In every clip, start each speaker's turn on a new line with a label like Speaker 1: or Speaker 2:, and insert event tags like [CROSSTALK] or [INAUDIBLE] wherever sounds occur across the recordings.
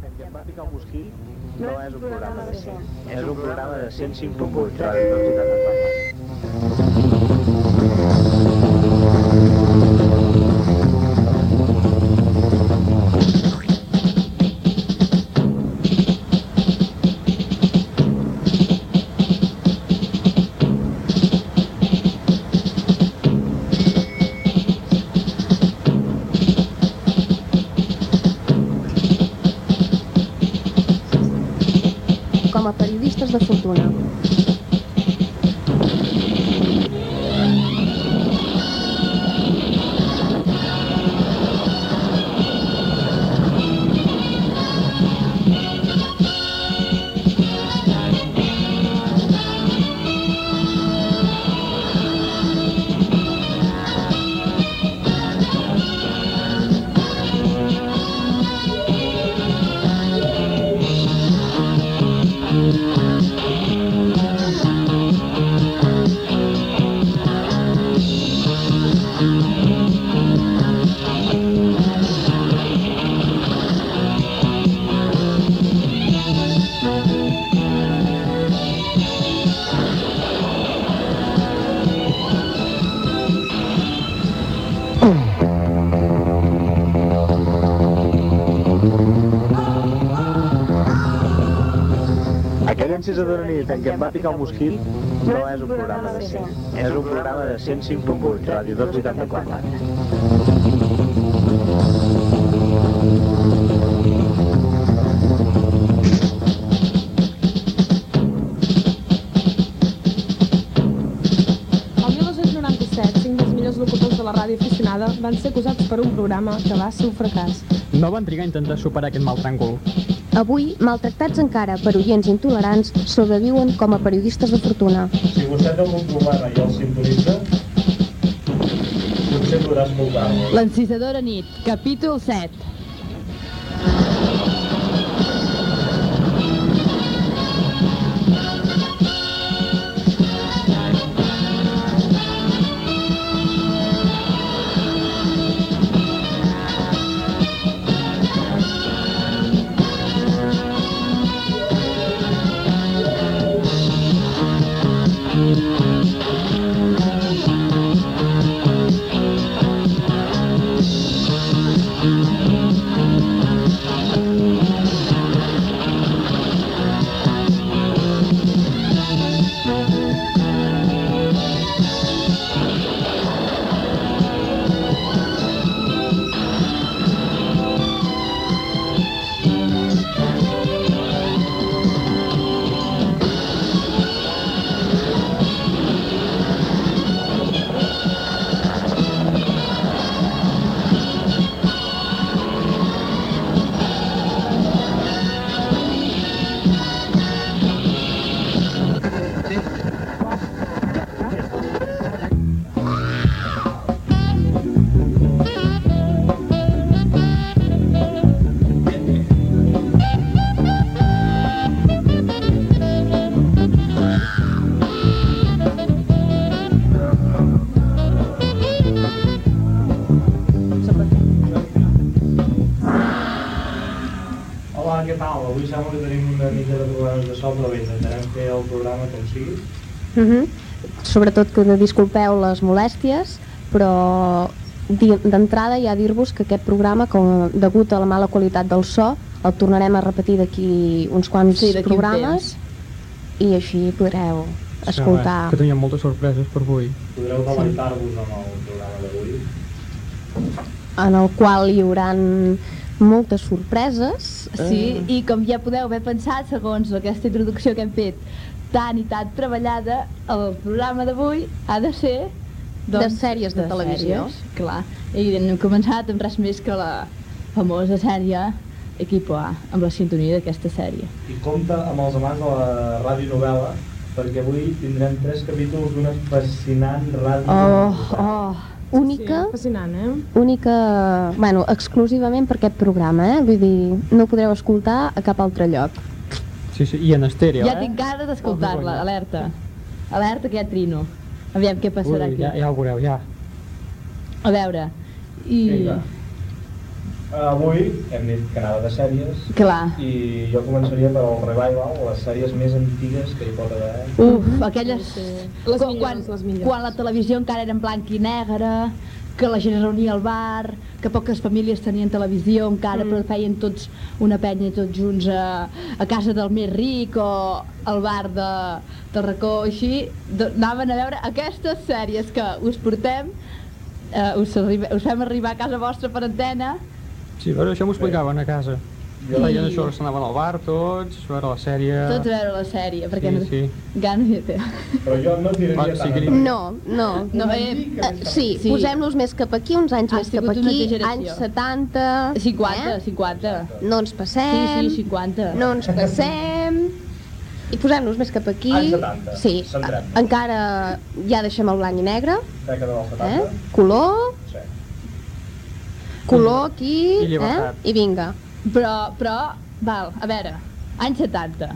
Speaker 1: Ràpid al Mosquí no és un programa de
Speaker 2: cent.
Speaker 1: 100. És un programa de 105 punts de la Ciutat de Palma.
Speaker 2: Com a periodistes de fortuna.
Speaker 1: Aquella encesa de la nit en què em va picar un mosquit no és un programa de 100. És un programa de 105.8, Ràdio 284.
Speaker 3: El 1997, cinc dels millors locutors de la ràdio aficionada van ser acusats per un programa que va ser un fracàs.
Speaker 4: No van trigar a intentar superar aquest mal tràngol.
Speaker 2: Avui, maltractats encara per oients intolerants, sobreviuen com a periodistes de fortuna.
Speaker 5: Si vostè té un programa i el sintonitza, potser podrà escoltar-lo.
Speaker 6: L'encisadora nit, capítol 7.
Speaker 2: Ah.
Speaker 5: Hola, què tal? Avui sembla que tenim una mica de problemes de sol, però bé, intentarem fer el programa com sigui.
Speaker 2: Uh
Speaker 6: Mhm.
Speaker 2: -huh. Sobretot que disculpeu les molèsties, però di- d'entrada ja dir-vos que aquest programa, com, degut a la mala qualitat del so, el tornarem a repetir d'aquí uns quants
Speaker 6: Sí, d'aquí un
Speaker 2: programes i així podreu escoltar.
Speaker 4: Que tenia moltes sorpreses per avui.
Speaker 5: Podreu deleitar-vos amb el programa d'avui.
Speaker 2: en el qual hi haurà moltes sorpreses.
Speaker 6: Sí, i com ja podeu haver pensat, segons aquesta introducció que hem fet tan i tan treballada, el programa d'avui ha de ser... doncs,
Speaker 2: De sèries de televisió.
Speaker 6: Sèries, clar. I hem començat amb res més que la famosa sèrie Equipo A, amb la sintonia d'aquesta sèrie.
Speaker 5: I compta amb els amants de la radionovel·la, perquè avui tindrem tres capítols d'una fascinant ràdio.
Speaker 2: Oh, oh, única,
Speaker 3: Sí, fascinant, eh?
Speaker 2: única, bueno, exclusivament per aquest programa, eh? Vull dir, no ho podreu escoltar a cap altre lloc.
Speaker 4: Sí, sí, i en estèreo,
Speaker 6: Ja
Speaker 4: eh?
Speaker 6: tinc ganes
Speaker 4: Oh,
Speaker 6: d'escoltar-la,
Speaker 4: vergonya.
Speaker 6: alerta. Alerta que hi ha trino. Aviam què passarà
Speaker 4: Ui,
Speaker 6: aquí.
Speaker 4: ja, ja ho veureu, ja.
Speaker 6: A veure, i...
Speaker 5: Vinga. Avui hem dit que anava de sèries
Speaker 6: Clar.
Speaker 5: i jo començaria per al revival, les sèries més antigues que hi pot haver. eh?
Speaker 6: Uf, aquelles...
Speaker 3: Les
Speaker 6: quan-
Speaker 3: millors,
Speaker 6: quan,
Speaker 3: les millors.
Speaker 6: Quan la televisió encara era en blanc i negre, que la gent es reunia al bar, que poques famílies tenien televisió encara,
Speaker 3: Mm.
Speaker 6: però feien tots una penya tots junts a, a casa del més ric o al bar de, del racó, així, do- anaven a veure aquestes sèries que us portem, eh, us, arriba, us fem arribar a casa vostra per antena,
Speaker 4: Sí, però això m'ho explicaven a casa.
Speaker 5: Jo-
Speaker 4: Feien això, se n'anaven al bar tots, a veure la sèrie...
Speaker 6: tots a veure la sèrie, perquè
Speaker 4: Ah. Sí, sí.
Speaker 6: no, gana ja té.
Speaker 3: Eh?
Speaker 5: Però jo no tiraria
Speaker 4: Va,
Speaker 5: tant.
Speaker 4: sí que-
Speaker 5: endavant.
Speaker 2: No, no.
Speaker 6: No,
Speaker 5: Una
Speaker 6: eh,
Speaker 5: mica més
Speaker 2: Sí,
Speaker 6: Sí.
Speaker 2: sí. posem-los més cap aquí, uns anys
Speaker 6: Ha
Speaker 2: més cap
Speaker 6: sigut una
Speaker 2: aquí,
Speaker 6: exageració.
Speaker 2: anys 70...
Speaker 6: 50, 50.
Speaker 2: Eh? No ens
Speaker 6: Sí,
Speaker 2: passem,
Speaker 6: sí, 50.
Speaker 2: no ens passem... I posem-los més cap aquí...
Speaker 5: Anys 70,
Speaker 2: Sí,
Speaker 5: centrem-nos.
Speaker 2: encara ja deixem el blanc i negre,
Speaker 5: Dècada del
Speaker 2: eh?
Speaker 5: 70.
Speaker 2: Color,
Speaker 5: Sí.
Speaker 2: color aquí...
Speaker 4: I llibertat.
Speaker 2: Eh? I vinga.
Speaker 6: Però, però, val, a veure, anys 70.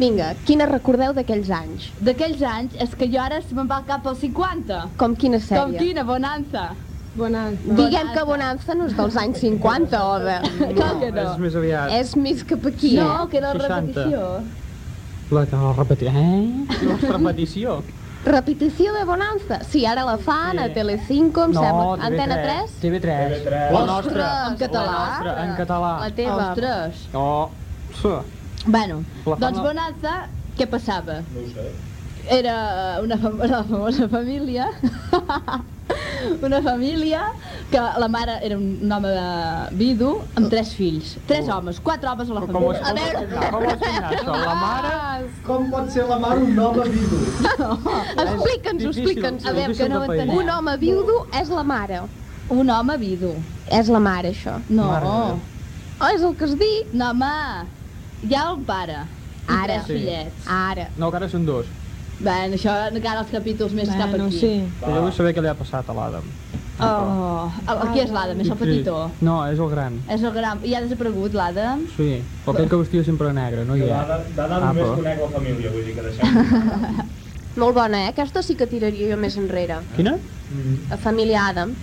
Speaker 2: Vinga, quina recordeu d'aquells anys?
Speaker 6: D'aquells anys és que jo ara se me'n va cap als 50.
Speaker 2: Com quina sèrie?
Speaker 6: Com quina bonança.
Speaker 3: Bona...
Speaker 2: Diguem que Bonanza no és dels anys 50, Oda.
Speaker 6: Com que no?
Speaker 4: És més aviat...
Speaker 2: És més cap aquí.
Speaker 6: No, que era la
Speaker 4: 60.
Speaker 6: repetició.
Speaker 4: La que la repetició... Eh? La repetició.
Speaker 2: Repetició de Bonanza. Sí, ara la fan a
Speaker 4: Sí.
Speaker 2: Telecinco, em sembla.
Speaker 4: TV3.
Speaker 2: Antena 3?
Speaker 4: TV3.
Speaker 5: TV3.
Speaker 4: La
Speaker 5: Ostres,
Speaker 4: nostra.
Speaker 6: en català.
Speaker 4: La nostra, en català.
Speaker 2: La teva.
Speaker 6: Ostres.
Speaker 4: Oh, sí.
Speaker 6: Bueno,
Speaker 4: La
Speaker 6: doncs
Speaker 4: fama-
Speaker 6: bonança, què passava?
Speaker 5: No ho sé.
Speaker 6: era una, fam una famosa família [LAUGHS] una família que la mare era un home de vidu amb tres fills, tres homes, quatre homes a la
Speaker 4: Com ho has
Speaker 6: família. A veure,
Speaker 4: combinat? La mare...
Speaker 5: Com pot ser la mare un home vidu?
Speaker 2: Explica'ns,
Speaker 4: Difícil,
Speaker 2: explica'ns.
Speaker 6: a veure, que no
Speaker 4: Difícil de
Speaker 6: ho entenem.
Speaker 4: pair.
Speaker 2: Un home viudo és la mare.
Speaker 6: Un home vidu.
Speaker 2: És la mare, això.
Speaker 6: No, Ah,
Speaker 4: Mare de Déu.
Speaker 2: Oh, és el que es diu.
Speaker 6: no home, hi ha el pare. I
Speaker 2: Ara.
Speaker 6: tres
Speaker 4: Sí.
Speaker 6: fillets.
Speaker 2: Ara.
Speaker 4: No, que ara són dos.
Speaker 6: Bé, això encara els capítols més cap
Speaker 3: Bueno,
Speaker 6: aquí.
Speaker 3: sí.
Speaker 5: Va.
Speaker 4: Jo vull saber què li ha passat a l'Adam.
Speaker 6: Oh, aquí és l'Adam, és el petitó.
Speaker 4: No, és el gran.
Speaker 6: És el gran, i ha desaparegut l'Adam.
Speaker 4: Sí, o aquell que vestia sempre de negre, no hi ha.
Speaker 5: D'Adam
Speaker 4: Ah,
Speaker 5: només
Speaker 4: però-
Speaker 5: conec la família, vull dir que deixem.
Speaker 2: Molt bona, eh? Aquesta sí que tiraria jo més enrere.
Speaker 4: Quina?
Speaker 2: A Família Adam.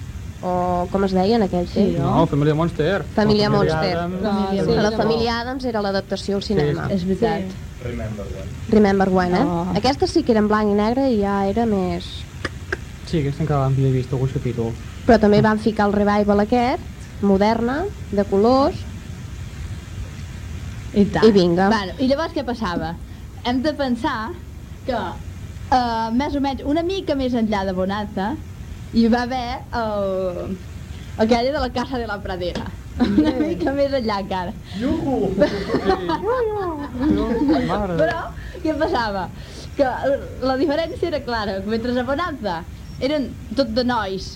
Speaker 2: O com es deia en aquell temps.
Speaker 4: No, Família Monster.
Speaker 2: Família
Speaker 4: La
Speaker 2: Monster.
Speaker 4: Addams.
Speaker 3: Família
Speaker 2: Que la
Speaker 3: Sí,
Speaker 2: família Adams era l'adaptació al cinema.
Speaker 6: És veritat.
Speaker 3: Sí.
Speaker 5: Remember one.
Speaker 2: Remember When, eh?
Speaker 6: Oh.
Speaker 2: Aquesta sí que era en blanc i negre i ja era més...
Speaker 4: Sí, aquesta encara l'havia vist algun capítol.
Speaker 2: Però també van ficar el revival aquest, moderna, de colors,
Speaker 6: I, tant.
Speaker 2: I vinga.
Speaker 6: Bueno, I llavors què passava? Hem de pensar que uh, més o menys una mica més enllà de Bonanza hi va haver el, aquella de la Casa de la Pradera. Una mica més enllà encara.
Speaker 5: Juhu!
Speaker 4: Mare.
Speaker 6: Però què passava? Que la diferència era clara, que mentre a Bonanza eren tot de nois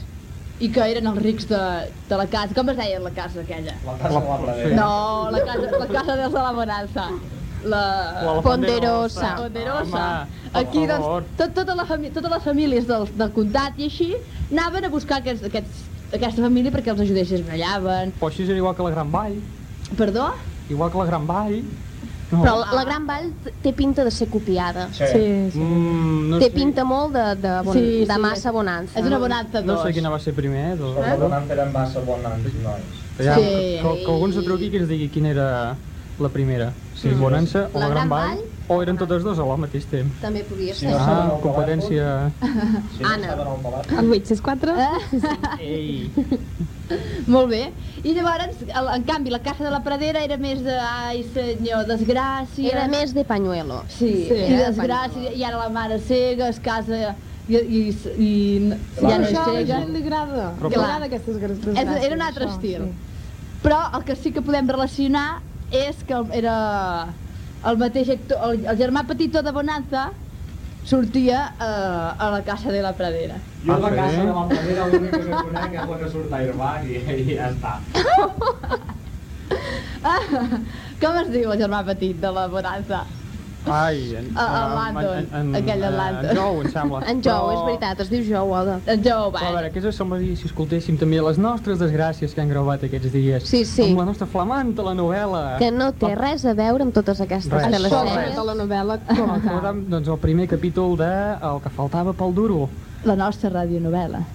Speaker 6: i que eren els rics de, de la casa. Com es deia la casa aquella?
Speaker 5: La casa de la
Speaker 4: Eh.
Speaker 5: pradera.
Speaker 6: No, la casa, la casa dels de la Bonanza. La...
Speaker 4: La
Speaker 2: Ponderosa.
Speaker 6: Ponderosa.
Speaker 4: Home, per
Speaker 6: Aquí,
Speaker 4: favor.
Speaker 6: doncs, tot, tota la famí- totes les famílies del, del comtat i així anaven a buscar aquests, aquests, aquesta família perquè els ajudés, es ballaven...
Speaker 4: Però així era igual que la Gran Vall.
Speaker 6: Perdó?
Speaker 4: Igual que la Gran Vall. No.
Speaker 2: però la, la Gran Vall t- té pinta de ser copiada.
Speaker 5: Sí.
Speaker 3: Sí, sí.
Speaker 4: Mm, no
Speaker 2: Té
Speaker 4: sé,
Speaker 2: pinta molt de, de, bon,
Speaker 6: Sí,
Speaker 2: de
Speaker 6: sí.
Speaker 2: massa bonança.
Speaker 6: És una bonança dos.
Speaker 4: No sé quina va ser primer. Doncs.
Speaker 2: Eh?
Speaker 5: Però la bonança eren massa bons nois.
Speaker 4: Ja,
Speaker 6: Sí.
Speaker 4: que, que, que algú ens truqui que ens digui quina era la primera. Si sí, Bonança o
Speaker 2: La
Speaker 4: la Gran
Speaker 2: Gran
Speaker 4: Vall, o eren totes dues al mateix temps.
Speaker 2: També podria
Speaker 5: Sí,
Speaker 2: ser.
Speaker 5: no.
Speaker 4: Ah, competència...
Speaker 5: Si no
Speaker 2: Anna.
Speaker 5: estaven al palat,
Speaker 3: 864? Eh?
Speaker 4: Ei!
Speaker 6: Molt bé. I llavors, el- en canvi, la casa de la pradera era més de... Ai, senyor, desgràcia...
Speaker 2: Era més eh, de pañuelo.
Speaker 6: Sí,
Speaker 3: Sí,
Speaker 6: sí i
Speaker 2: era
Speaker 6: desgràcia,
Speaker 2: pañuelo.
Speaker 6: i ara la mare cega es casa... I, i, i, i ja
Speaker 5: Clar,
Speaker 6: no és
Speaker 3: això a la
Speaker 6: cega.
Speaker 3: gent li agrada.
Speaker 4: Però-
Speaker 3: Li agrada aquestes gràcies.
Speaker 6: És- era un altre estil. Però el que sí que podem relacionar és que el- era el mateix actor, el, el germà petitó de Bonanza sortia eh, a la Casa de la Pradera.
Speaker 5: Jo
Speaker 4: Ah,
Speaker 5: la
Speaker 4: sí?
Speaker 5: casa de la pradera l'única que conec és la que surt a Irvang i, i ja està.
Speaker 6: Ah, com es diu el germà petit de la Bonanza?
Speaker 4: Ai, en,
Speaker 6: A- a Landon, aquell de Landon.
Speaker 4: En Jou, em sembla.
Speaker 2: [LAUGHS] En Jou, és veritat, es diu Jou, Oda.
Speaker 6: En
Speaker 4: Però,
Speaker 6: Joe
Speaker 4: a
Speaker 6: Biden.
Speaker 4: veure, què us semblaria si escoltéssim també les nostres desgràcies que han gravat aquests dies?
Speaker 2: Sí, sí.
Speaker 4: Amb la nostra flamanta, la novel·la.
Speaker 2: Que no té res a veure amb totes aquestes
Speaker 4: Res.
Speaker 3: Això és
Speaker 2: telesèries.
Speaker 3: tota la novel·la com a cap.
Speaker 4: Recordem, doncs, el primer capítol de El que faltava pel duro.
Speaker 6: La nostra radionovel·la.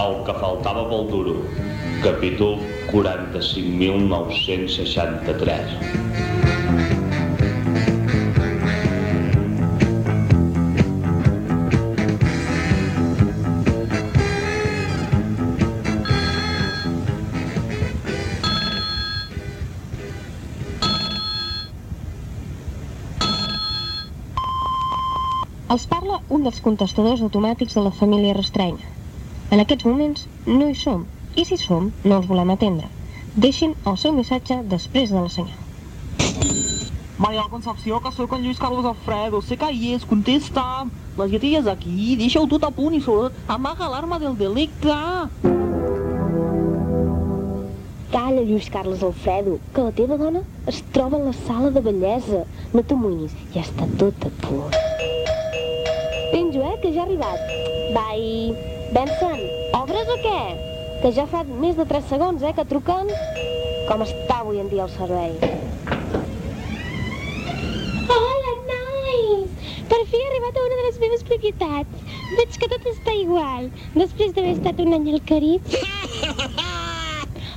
Speaker 7: El que faltava pel duro, capítol 45.963.
Speaker 2: Els parla un dels contestadors automàtics de la família Restreny. En aquests moments no hi som, i si som, no els volem atendre. Deixin el seu missatge després de la senyal.
Speaker 8: Maria Concepció, que sóc en Lluís Carlos Alfredo. Sé que hi és, contesta. La gent ja és aquí, deixa-ho tot a punt i sobretot amaga l'arma del delicte.
Speaker 9: Calla, Lluís Carles Alfredo, que la teva dona es troba a la sala de bellesa. No t'amoïnis, ja està tot a punt. Penjo, eh, que ja ha arribat. Bye. Benson,
Speaker 8: Oh,
Speaker 9: obres o què? Que ja fa més de 3 segons, eh, que truquen. Com està avui en dia el servei? Hola, nois! Per fi he arribat a una de les meves propietats. Veig que tot està igual, després d'haver estat un any al Carib.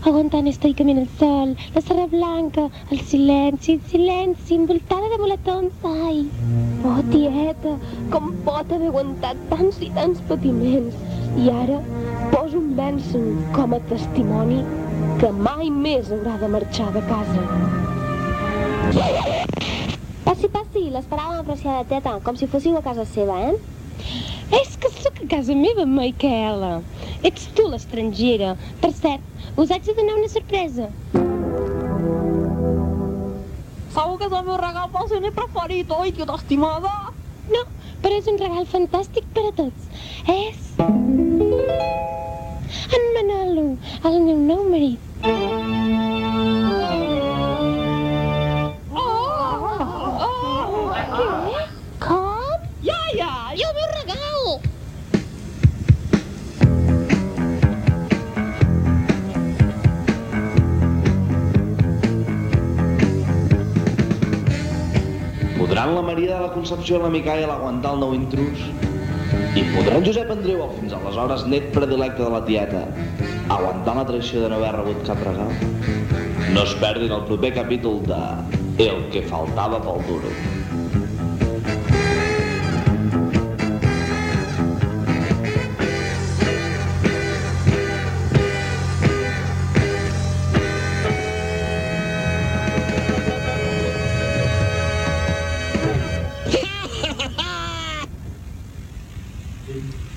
Speaker 9: Aguantant estoicament el sol, la serra blanca, el silenci, el silenci, envoltada de moletons, ai. Oh, tieta, com pot haver aguantat tants i tants patiments? I ara poso un Benson com a testimoni que mai més haurà de marxar de casa.
Speaker 10: Passi, passi, l'esperàvem, apreciada teta, com si fóssiu a casa seva, eh? És que sóc a casa meva, Micaela. Ets tu l'estrangera. Per cert, us haig de donar una sorpresa.
Speaker 8: Segur que és el meu regal pel seu nen preferit, oi, que t'estimada?
Speaker 10: No, però és un regal fantàstic per a tots. És... En Manolo, el meu nou marit.
Speaker 8: Què?
Speaker 10: Com?
Speaker 8: Iaia, i el meu regal!
Speaker 7: Podran la Maria de la Concepció i la Micaela aguantar el nou intrus? I podrà en Josep Andreu, el fins aleshores net predilecte de la tieta, aguantar la traïció de no haver rebut cap regal? No es perdin el proper capítol de El que faltava pel duro.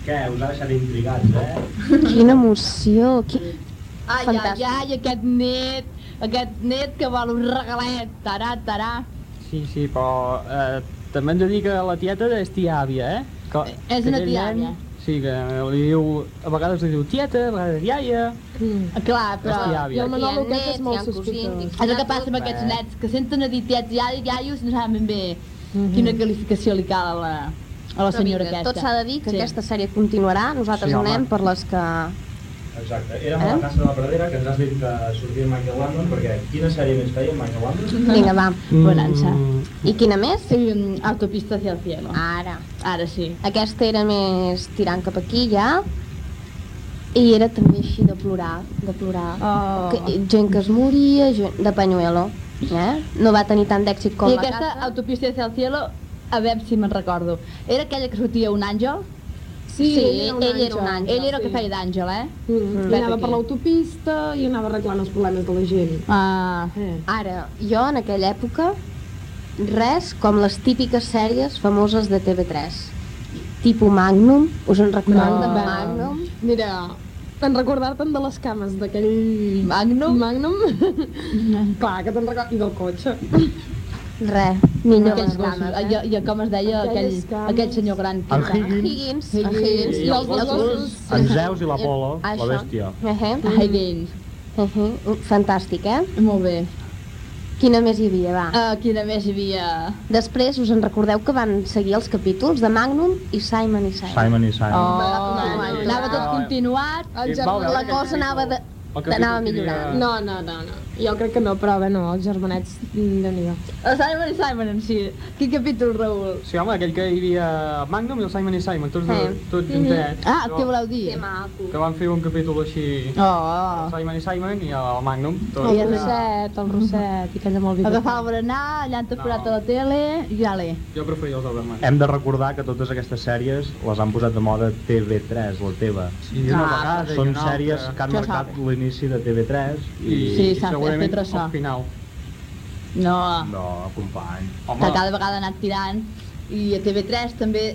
Speaker 5: Què? Us ha deixat intrigats, eh?
Speaker 2: Quina emoció! Qui...
Speaker 6: Ai, ai,
Speaker 2: Fantàstic.
Speaker 6: ai, aquest net, aquest net que vol un regalet, tarà, tarà.
Speaker 4: Sí, sí, però eh, també hem de dir que la tieta és tia àvia, eh? Que,
Speaker 6: és
Speaker 4: que
Speaker 6: una
Speaker 4: aquell
Speaker 6: tia
Speaker 4: nen,
Speaker 6: àvia.
Speaker 4: Sí, que li diu, a vegades li diu tieta, a vegades iaia,
Speaker 3: Mm.
Speaker 6: Clar, però...
Speaker 4: és tia àvia.
Speaker 3: I el Manolo aquest és molt sospitós.
Speaker 6: És el que passa amb aquests nets, que senten a dir tiets i ai, iaios i no saben ben bé quina qualificació li cal a la, a la senyora aquesta.
Speaker 2: Mhm. tot s'ha de dir que
Speaker 6: Sí.
Speaker 2: sí. aquesta sèrie continuarà, nosaltres
Speaker 4: Sí,
Speaker 2: sí,
Speaker 4: home.
Speaker 2: anem per les que... Eh?
Speaker 5: Exacte. Érem a la Casa de la Pradera, que ens has dit que sortia Michael Landon, perquè quina sèrie més feia Michael Landon?
Speaker 2: Vinga, va.
Speaker 4: Mm.
Speaker 6: Bonança.
Speaker 2: I quina més?
Speaker 6: Sí, mm, autopista hacia el cielo.
Speaker 2: Ara.
Speaker 6: Ara sí.
Speaker 2: Aquesta era més tirant cap aquí, ja. I era també així de plorar, de plorar.
Speaker 6: Oh.
Speaker 2: Que, gent que es moria, gent... de Panyuelo. Eh? No va tenir tant d'èxit com
Speaker 6: I
Speaker 2: la
Speaker 6: aquesta
Speaker 2: casa.
Speaker 6: autopista hacia el cielo, a veure si me'n recordo. Era aquella que sortia un àngel?
Speaker 3: Sí,
Speaker 2: Sí,
Speaker 3: ell era un
Speaker 2: ell era un
Speaker 3: àngel.
Speaker 2: àngel.
Speaker 6: Ell era el que
Speaker 3: sí.
Speaker 6: feia d'àngel, eh?
Speaker 3: Mm, I
Speaker 6: Vet
Speaker 3: anava
Speaker 6: aquí.
Speaker 3: per l'autopista i anava arreglant els problemes de la gent.
Speaker 6: Ah,
Speaker 3: Eh.
Speaker 2: Ara, jo en aquella època, res com les típiques sèries famoses de TV3. Tipo Magnum, us en recordeu de
Speaker 6: No.
Speaker 2: Magnum?
Speaker 3: Mira, te'n recordar-te'n de les cames d'aquell...
Speaker 6: Magnum?
Speaker 3: Magnum? [LAUGHS] Clar, que te'n recordes. I del cotxe.
Speaker 2: Res, millor
Speaker 6: aquells
Speaker 2: les
Speaker 6: gossos,
Speaker 2: games,
Speaker 6: eh? i, i com es deia aquell,
Speaker 3: Aquelles cames.
Speaker 6: aquell senyor gran que
Speaker 4: El
Speaker 6: era?
Speaker 4: Higgins,
Speaker 2: Higgins,
Speaker 6: Higgins.
Speaker 2: Higgins,
Speaker 4: I els gossos, en Zeus i l'Apolo, la
Speaker 2: Això.
Speaker 4: bèstia.
Speaker 2: Uh -huh.
Speaker 6: Ai, Higgins,
Speaker 2: Uh -huh. Fantàstic, eh?
Speaker 6: molt bé.
Speaker 2: Quina més hi havia, va?
Speaker 6: Uh, quina més hi havia?
Speaker 2: Després us en recordeu que van seguir els capítols de Magnum i Simon i Simon.
Speaker 4: Simon Eh, i Simon.
Speaker 6: Oh, anava tot continuat.
Speaker 4: Sí, va,
Speaker 2: La cosa anava de...
Speaker 4: El capítol
Speaker 3: Anava
Speaker 4: tindria-
Speaker 3: millorant. No, no, no, no. Jo crec que no, però bé, no, els germanets, mm, déu-n'hi-do.
Speaker 6: El Oh, Simon i Simon en si. Quin capítol, Raül?
Speaker 4: Sí, home, aquell que hi havia Magnum i el Simon i Simon, tots, eh. tots juntets.
Speaker 6: Ah,
Speaker 4: Però-
Speaker 6: què voleu dir? Que
Speaker 2: maco.
Speaker 4: Que van fer un capítol així...
Speaker 6: Oh.
Speaker 4: El Simon i Simon i el Magnum. Tot,
Speaker 3: El Roset, el Roset, Eh, i aquella molt viva.
Speaker 6: Agafar el berenar, allà han forat a la tele i ale.
Speaker 4: Jo preferia els Doberman.
Speaker 5: Hem de recordar que totes aquestes sèries les han posat de moda TV3, la teva.
Speaker 4: Sí, una Ah, vegada i
Speaker 5: Són
Speaker 4: una
Speaker 5: sèries
Speaker 4: altra.
Speaker 5: que han
Speaker 4: Ja
Speaker 5: marcat l'inici de TV3 i...
Speaker 6: Sí, s'ha fet
Speaker 4: segurament
Speaker 6: traçar.
Speaker 4: al final.
Speaker 6: No,
Speaker 5: No, company.
Speaker 6: que cada vegada ha anat tirant. I a TV3 també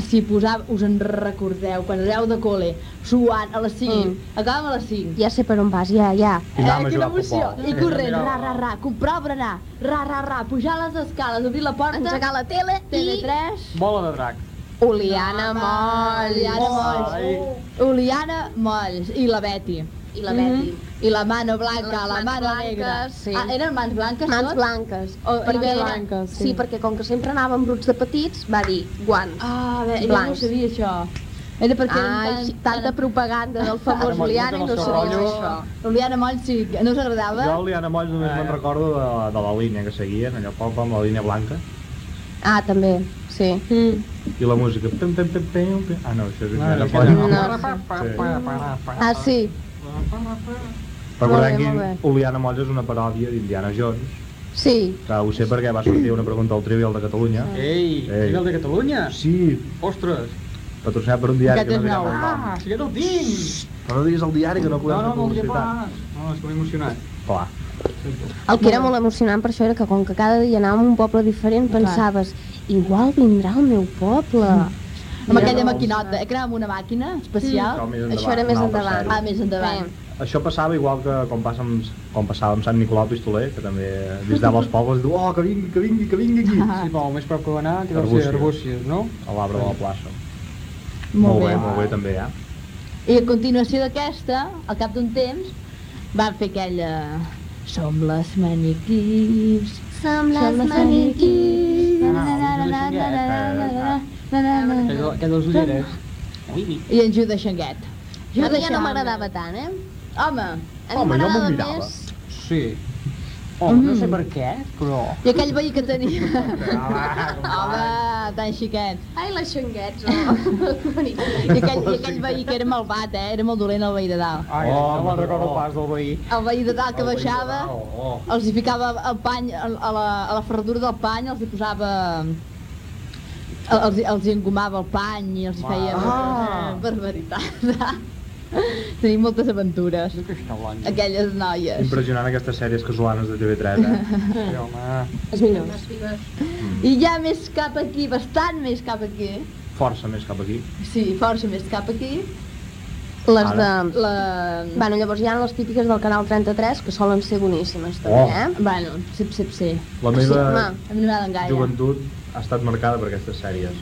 Speaker 6: si posava, us en recordeu, quan aneu de col·le, suant a les 5, mm. acabàvem a les 5.
Speaker 2: Ja sé per on vas, ja, ja.
Speaker 5: I anàvem a
Speaker 6: quina
Speaker 5: jugar a futbol.
Speaker 6: emoció! I
Speaker 5: Sí,
Speaker 6: corrent,
Speaker 5: mira.
Speaker 6: ra, ra, ra, comprar berenar, ra, ra, ra, pujar les escales, obrir la porta,
Speaker 2: Engegar la tele i-
Speaker 6: TV3,
Speaker 4: Bola de drac.
Speaker 2: Oliana Moll.
Speaker 6: Oliana
Speaker 4: Ai.
Speaker 6: Molls. Oliana Molls i la Betty. I
Speaker 2: la Betty.
Speaker 6: I la mano blanca,
Speaker 2: Les
Speaker 6: la
Speaker 2: mans
Speaker 6: mano
Speaker 2: blanques,
Speaker 6: negra.
Speaker 2: sí.
Speaker 6: Ah, eren mans blanques
Speaker 2: Mans
Speaker 6: tot?
Speaker 2: blanques.
Speaker 6: O,
Speaker 2: Perquè
Speaker 6: perquè
Speaker 2: era-
Speaker 6: blanques,
Speaker 2: sí. perquè com que sempre anava amb bruts de petits, va dir guants.
Speaker 6: Ah, bé, jo no ho
Speaker 2: blancs.
Speaker 6: sabia això. Era perquè eren
Speaker 2: Ai,
Speaker 6: tan-
Speaker 2: tanta propaganda del
Speaker 5: Ara
Speaker 2: famós
Speaker 5: m'ha
Speaker 2: Liana i
Speaker 5: vingut
Speaker 2: no
Speaker 5: amb el seu
Speaker 2: sabia
Speaker 5: rotllo.
Speaker 2: això.
Speaker 6: Oliana Molls sí, que no us agradava?
Speaker 5: Jo, Liana Moll, només me'n recordo de, de la línia que seguien, allò pop amb la línia blanca,
Speaker 2: Ah, també, sí. Mm.
Speaker 5: i la música... Pim, pim, pim, pim, pim. Ah, no, això és
Speaker 4: Ah,
Speaker 5: Liana
Speaker 4: que
Speaker 5: Moll.
Speaker 4: no.
Speaker 2: Ah, sí.
Speaker 5: Recordem
Speaker 2: Molt bé,
Speaker 5: que
Speaker 2: molt
Speaker 5: Oliana Moll és una paròdia d'Indiana Jones,
Speaker 2: Sí.
Speaker 5: que ho sé perquè va sortir una pregunta al Trivial de Catalunya.
Speaker 4: Ei, Trivial de Catalunya?
Speaker 5: Sí.
Speaker 4: Ostres.
Speaker 5: Patrocinat per un diari que no dirà el nom.
Speaker 4: Ah, si aquest el tinc!
Speaker 5: Però no diguis el diari que no podem
Speaker 4: No, no,
Speaker 5: fer
Speaker 4: no, el diré
Speaker 5: publicitat.
Speaker 4: pas. No, estic emocionat.
Speaker 5: Clar.
Speaker 2: El que era molt emocionant per això era que com que cada dia anàvem a un poble diferent pensaves igual vindrà al meu poble.
Speaker 6: Amb aquella maquinota, eh, que anava amb una màquina especial.
Speaker 5: Mm. No, més Això era endavant, més una altra endavant. sèrie.
Speaker 6: Ah, més endavant.
Speaker 5: Això passava igual que com passa amb, com passava amb Sant Nicolau Pistoler, que també visitava els pobles i diu, oh, que vingui, que vingui, que vingui aquí.
Speaker 4: Sí, però el més prop que va anar, que deu
Speaker 5: Arbúcies.
Speaker 4: ser Arbúcies, no?
Speaker 5: A l'arbre de la plaça.
Speaker 6: Molt
Speaker 5: bé,
Speaker 6: bé.
Speaker 5: molt bé també, eh?
Speaker 6: I a continuació d'aquesta, al cap d'un temps, van fer aquella... Som les maniquís,
Speaker 2: som
Speaker 6: les
Speaker 4: Ah,
Speaker 6: maniquís, na, na, na, na, na, na, na, na, na, na, na.
Speaker 4: Aquell aquell dels ulleres. Ui, mi.
Speaker 6: i en Jude Xanguet.
Speaker 2: A mi ja no m'agradava tant, eh?
Speaker 6: Home,
Speaker 2: a mi m'agradava més...
Speaker 4: Sí. Home, no sé per què, però...
Speaker 6: I aquell veí que [LAUGHS] tenia. Home, tan xiquet.
Speaker 2: Ai, les xanguets, oh.
Speaker 6: [LAUGHS] I aquell, i aquell veí que era malvat, eh? Era molt dolent el veí de dalt.
Speaker 4: Ai,
Speaker 5: Oh,
Speaker 4: no me'n recordo pas del veí. Oh,
Speaker 6: El veí de dalt que baixava, els hi ficava el pany, a a la, a la ferradura del pany, els hi posava... el- Els, hi- els hi engomava el pany i els hi feia [LAUGHS]
Speaker 4: Ah.
Speaker 6: barbaritat. Tenim moltes aventures, aquelles noies.
Speaker 5: Impressionant aquestes sèries casolanes de TV3, eh?
Speaker 6: Hm.
Speaker 4: Sí, home.
Speaker 6: Les millors. I ja més cap aquí, bastant més cap aquí,
Speaker 5: Força més cap aquí.
Speaker 6: sí, força més cap aquí,
Speaker 2: Les de...
Speaker 5: Ara.
Speaker 6: la...
Speaker 2: Bueno, llavors hi ha les típiques del Canal 33, que solen ser boníssimes, també,
Speaker 5: Oh.
Speaker 2: eh?
Speaker 6: Bueno, sip, sip, sip.
Speaker 5: La
Speaker 2: Sí,
Speaker 5: meva
Speaker 2: home.
Speaker 6: A mi no m'agraden gaire.
Speaker 5: joventut ha estat marcada per aquestes sèries.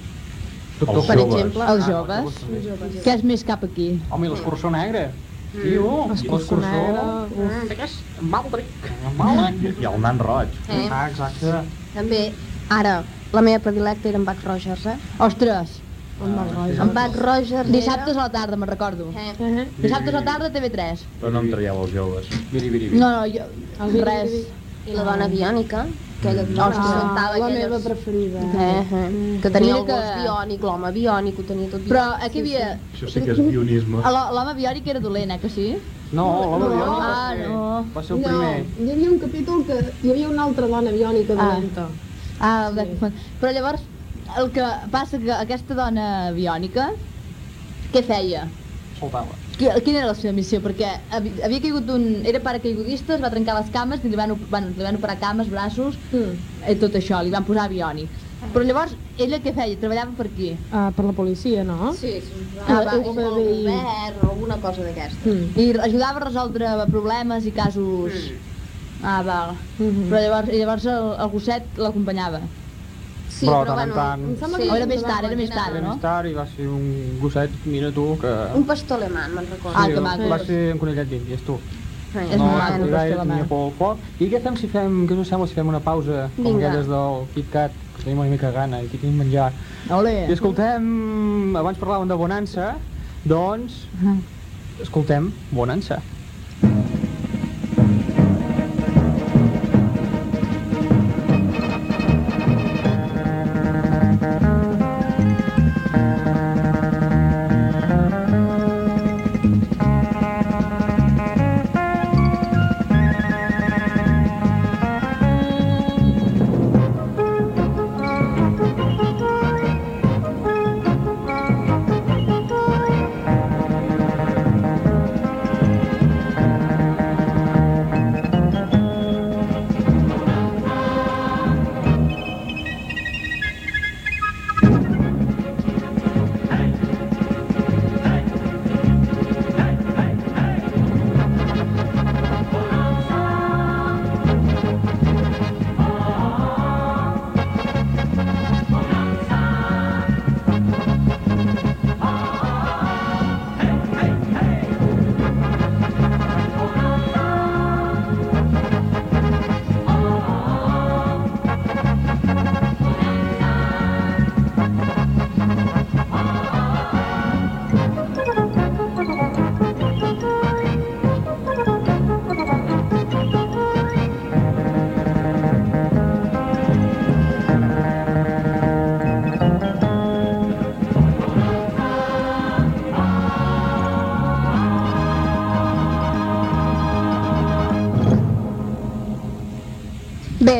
Speaker 5: Els
Speaker 2: Per
Speaker 5: joves.
Speaker 2: exemple,
Speaker 6: Els Ah, joves? Hm. Què és més cap aquí?
Speaker 4: Home, i l'escurçó negre. Tio, l'escurçó... Aquest Maldric. Maldric.
Speaker 5: I, I el nan roig.
Speaker 2: Eh.
Speaker 4: Ah, exacte.
Speaker 2: també, ara, la meva predilecta era en Buck Rogers, eh?
Speaker 6: Ostres!
Speaker 3: Ah.
Speaker 2: En Buck Rogers
Speaker 6: Dissabtes a la tarda, me'n recordo.
Speaker 2: era... Eh.
Speaker 6: Dissabtes a la tarda, TV3.
Speaker 5: Però no em traieu els joves.
Speaker 4: Viri, viri, viri.
Speaker 6: No, no, jo... Res.
Speaker 2: I la dona biònica, aquella que
Speaker 6: Ostres.
Speaker 2: saltava
Speaker 3: Ah, la
Speaker 2: aquelles...
Speaker 3: meva preferida.
Speaker 2: Eh, eh. Que tenia
Speaker 6: Mira
Speaker 2: el gos
Speaker 6: que-
Speaker 2: biònic, l'home biònic, ho tenia tot
Speaker 6: Però
Speaker 2: biònic.
Speaker 6: aquí hi havia...
Speaker 5: Això sí que és guionisme.
Speaker 6: a la- L'home biòric era dolent, eh, que sí?
Speaker 4: No, l'home biònic va
Speaker 6: Ah,
Speaker 4: ser-
Speaker 6: no.
Speaker 4: va ser el primer.
Speaker 3: hi havia un capítol que hi havia una altra dona biònica
Speaker 6: Ah.
Speaker 3: dolenta.
Speaker 6: Ah, el Black Phone. Però llavors, el que passa que aquesta dona biònica, què feia?
Speaker 4: Soltava.
Speaker 6: Qui- Quina era la seva missió? Perquè havi- havia caigut un... Era paracaigudista, es va trencar les cames, i li van, op- bueno, li van operar cames, braços,
Speaker 3: Mm.
Speaker 6: i tot això, li van posar biònic. Però llavors, ella què feia? Treballava per qui?
Speaker 3: Ah, per la policia, no?
Speaker 2: Sí, sí.
Speaker 3: Ah,
Speaker 2: Ah, va,
Speaker 3: va, és
Speaker 2: o
Speaker 3: el
Speaker 2: el
Speaker 3: govern
Speaker 2: govern o alguna cosa d'aquesta.
Speaker 3: Mm.
Speaker 6: I ajudava a resoldre problemes i casos...
Speaker 2: Mm.
Speaker 6: Ah, val.
Speaker 3: Mhm.
Speaker 6: Però llavors, i llavors el, el gosset l'acompanyava.
Speaker 2: Sí,
Speaker 4: Però tant en tant.
Speaker 2: sembla
Speaker 6: O era més tard, era més tard,
Speaker 4: Era
Speaker 6: no?
Speaker 4: més tard i va ser un gosset, mira tu, que...
Speaker 2: Un pastor alemán, me'n recordo.
Speaker 6: Ah, que maco.
Speaker 4: va ser un conillet d'índies, tu.
Speaker 2: Eh.
Speaker 6: És
Speaker 4: no, no,
Speaker 6: molt maco, el
Speaker 4: gaire
Speaker 6: pastor
Speaker 4: tenia
Speaker 6: alemany.
Speaker 4: por al foc. I què fem si fem, què us sembla si fem una pausa, com
Speaker 2: Vinga.
Speaker 4: aquelles del Kit Kat, que tenim una mica gana i que tenim menjar.
Speaker 6: Ole!
Speaker 4: I escoltem, abans parlàvem de Bonança, doncs, escoltem Bonança.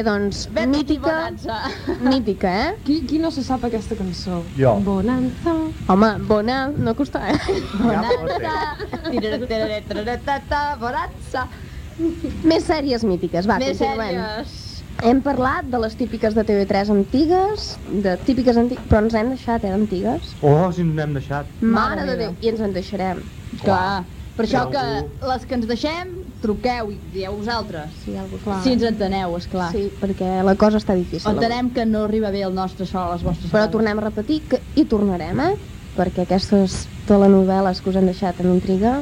Speaker 2: doncs,
Speaker 3: Vete aquí,
Speaker 2: mítica, [LAUGHS] mítica, eh?
Speaker 3: Qui, qui no se sap aquesta cançó?
Speaker 2: Jo.
Speaker 3: Bonanza.
Speaker 2: Home, bona, no costa, eh? [LAUGHS] [LAUGHS]
Speaker 6: Bonanza.
Speaker 2: Més sèries mítiques, va,
Speaker 6: Més
Speaker 2: continuem.
Speaker 6: sèries.
Speaker 2: Hem parlat de les típiques de TV3 antigues, de típiques antigues, però ens hem deixat, eh, antigues.
Speaker 5: Oh, si no n'hem deixat.
Speaker 2: Mare, de Déu, i ens en deixarem.
Speaker 6: Clar. Per això
Speaker 2: Hi
Speaker 6: que
Speaker 2: ha algú-
Speaker 6: les que ens deixem, truqueu i dieu vosaltres.
Speaker 2: Si, algú, clar.
Speaker 6: si ens enteneu, esclar.
Speaker 2: Sí, perquè la cosa està difícil.
Speaker 6: Entenem que no arriba bé el nostre sol a les vostres
Speaker 2: Però tornem a repetir que hi tornarem, eh? Perquè aquestes telenovel·les que us han deixat en intriga...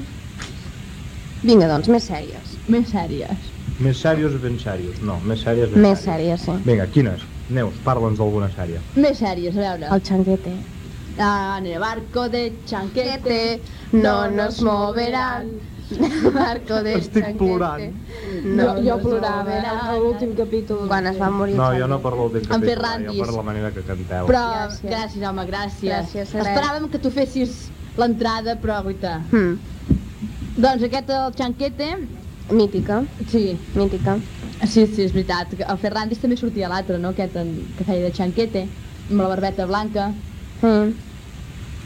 Speaker 2: Vinga, doncs, més sèries.
Speaker 6: Més sèries.
Speaker 5: Més sèries o ben sèries? No, més sèries ben
Speaker 2: Més sèries, sí.
Speaker 5: Vinga, quines? Neus, parla'ns d'alguna sèrie.
Speaker 6: Més sèries, a veure.
Speaker 2: El xanguete.
Speaker 6: Ah, en el barco de chanquete
Speaker 2: no nos moverán.
Speaker 6: [LAUGHS]
Speaker 2: Marco de
Speaker 5: Estic plorant.
Speaker 3: No, jo, jo plorava eh, a l'últim capítol.
Speaker 2: Quan es va morir
Speaker 5: No, jo no parlo del
Speaker 6: En
Speaker 5: capítol,
Speaker 6: Ferrandis.
Speaker 5: jo per la manera que canteu.
Speaker 6: Però, gràcies, home, gràcies.
Speaker 2: Gràcies, serà.
Speaker 6: Esperàvem que tu fessis l'entrada, però guaita.
Speaker 2: Hmm.
Speaker 6: Doncs aquest, el Chanquete...
Speaker 2: Mítica.
Speaker 6: Sí.
Speaker 2: Mítica.
Speaker 6: Sí, sí, és veritat. El Ferrandis també sortia l'altre, no? Aquest en, que feia de Chanquete, amb la barbeta blanca.
Speaker 2: Mm.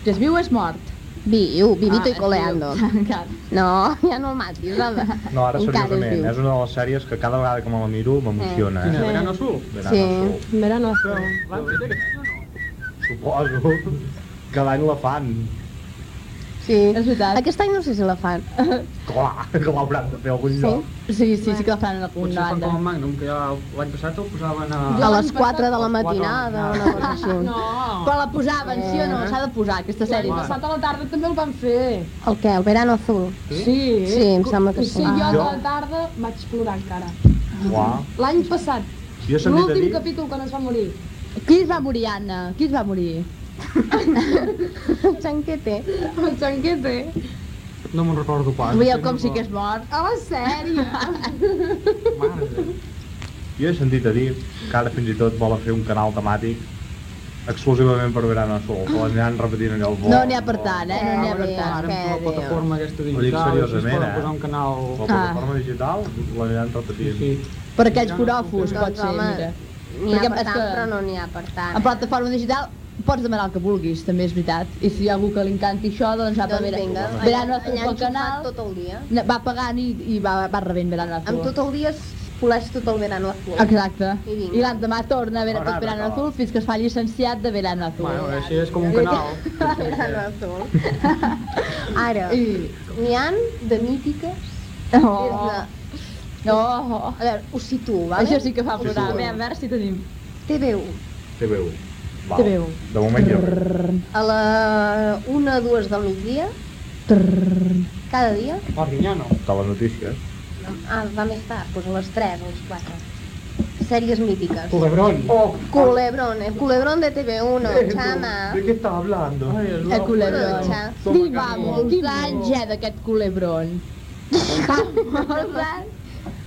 Speaker 6: Que es viu o és mort? Ah,
Speaker 2: Viu, uh, vivito i
Speaker 6: es
Speaker 2: coleando.
Speaker 6: viu. [LAUGHS]
Speaker 2: [LAUGHS]
Speaker 6: Encara.
Speaker 2: No, ja no el matis, home.
Speaker 5: No, ara
Speaker 2: Encara es
Speaker 5: seriosament, eh?
Speaker 2: viu.
Speaker 5: és una de les sèries que cada vegada que me la miro m'emociona.
Speaker 4: Quina,
Speaker 5: Eh?
Speaker 4: Verano Azul?
Speaker 5: Verano Azul.
Speaker 3: Sí. Verano Azul.
Speaker 4: L'han fet aquesta?
Speaker 5: Suposo. Cada any la fan.
Speaker 2: Sí. És
Speaker 6: veritat.
Speaker 2: Aquest any no sé si la fan.
Speaker 5: Clar, [LAUGHS] que l'hauran de fer algun sí. lloc.
Speaker 6: Sí, sí, sí que la fan en algun
Speaker 4: Potser fan
Speaker 6: banda.
Speaker 4: com el Magnum, que ja l'any passat el posaven a...
Speaker 5: Ah.
Speaker 2: A les 4 de la matinada, una cosa així.
Speaker 5: [LAUGHS]
Speaker 6: Quan la posaven, sí o no?
Speaker 2: Eh.
Speaker 6: S'ha de posar, aquesta sèrie.
Speaker 3: L'any passat a la tarda també el van fer.
Speaker 2: El què? El verano azul? [LAUGHS]
Speaker 3: Sí.
Speaker 2: Sí, em sembla que
Speaker 3: sí.
Speaker 2: sí.
Speaker 3: jo a
Speaker 5: Jo-
Speaker 3: la tarda vaig plorar encara.
Speaker 5: Clar.
Speaker 3: L'any passat.
Speaker 5: Jo he sentit a
Speaker 3: L'últim
Speaker 5: dir-
Speaker 3: capítol quan es va morir.
Speaker 6: Qui es va morir, Anna? Qui es va morir?
Speaker 2: El xanquete.
Speaker 3: El xanquete.
Speaker 4: No me'n recordo pas.
Speaker 6: Veieu com sí que és mort?
Speaker 3: A
Speaker 2: Oh,
Speaker 3: la sèrie.
Speaker 5: Jo he sentit a dir que ara fins i tot volen fer un canal temàtic exclusivament per Verano Azul, que l'aniran repetint allò el vol.
Speaker 6: No n'hi ha per tant, eh? No n'hi ha per
Speaker 4: Ara,
Speaker 6: tant.
Speaker 4: ara amb la plataforma aquesta
Speaker 5: Ho dic
Speaker 4: digital, així es
Speaker 5: seriosament,
Speaker 4: poden
Speaker 5: eh?
Speaker 4: posar un canal...
Speaker 5: La plataforma
Speaker 6: Ah.
Speaker 5: digital l'aniran repetint.
Speaker 4: Sí,
Speaker 6: Per aquells forofos, pot ser,
Speaker 2: home,
Speaker 6: mira.
Speaker 2: N'hi ha
Speaker 6: Perquè
Speaker 2: per
Speaker 6: és
Speaker 2: tant,
Speaker 6: que-
Speaker 2: però no n'hi ha per
Speaker 6: A
Speaker 2: tant. eh?
Speaker 6: plataforma digital pots demanar el que vulguis, també és veritat. I si hi ha algú que li encanti això, doncs va
Speaker 2: Doncs
Speaker 6: per vera.
Speaker 2: vinga,
Speaker 6: Verano
Speaker 2: allà-
Speaker 6: Azul
Speaker 2: allà
Speaker 6: pel
Speaker 2: enxufat
Speaker 6: canal,
Speaker 2: tot el dia.
Speaker 6: na- va pagant i, i va, va rebent Verano Azul.
Speaker 2: Amb tot el dia es poleix tot el verano azul.
Speaker 6: Exacte.
Speaker 2: I vinga.
Speaker 6: I l'endemà torna a veure tot Verano Azul fins que es fa llicenciat de Verano Azul.
Speaker 4: Bueno, així és com un canal.
Speaker 2: Verano azul.
Speaker 5: [LAUGHS]
Speaker 6: [LAUGHS]
Speaker 2: Ara,
Speaker 6: I-
Speaker 2: n'hi han de mítiques des
Speaker 6: Oh.
Speaker 2: de
Speaker 6: No.
Speaker 2: A veure, ho situo, vale?
Speaker 6: Això sí que fa
Speaker 5: Sí,
Speaker 6: plorar.
Speaker 5: sí.
Speaker 6: Bé, a veure si tenim.
Speaker 2: TV1.
Speaker 5: TV1. Val.
Speaker 6: TV1.
Speaker 5: De moment jo.
Speaker 2: A la 1 a 2 del migdia, cada dia.
Speaker 4: Perpinyano.
Speaker 5: Telenotícies.
Speaker 2: Ah, va més tard, doncs a les 3 o a les 4. Sèries mítiques.
Speaker 4: Culebron.
Speaker 5: Oh,
Speaker 2: Culebrón, el culebrón de
Speaker 4: Oh,
Speaker 2: TV1, chama.
Speaker 5: ¿De qué está hablando?
Speaker 6: El culebron.
Speaker 2: Dutxa.
Speaker 6: Diu, vamos, quins anys ja d'aquest culebron?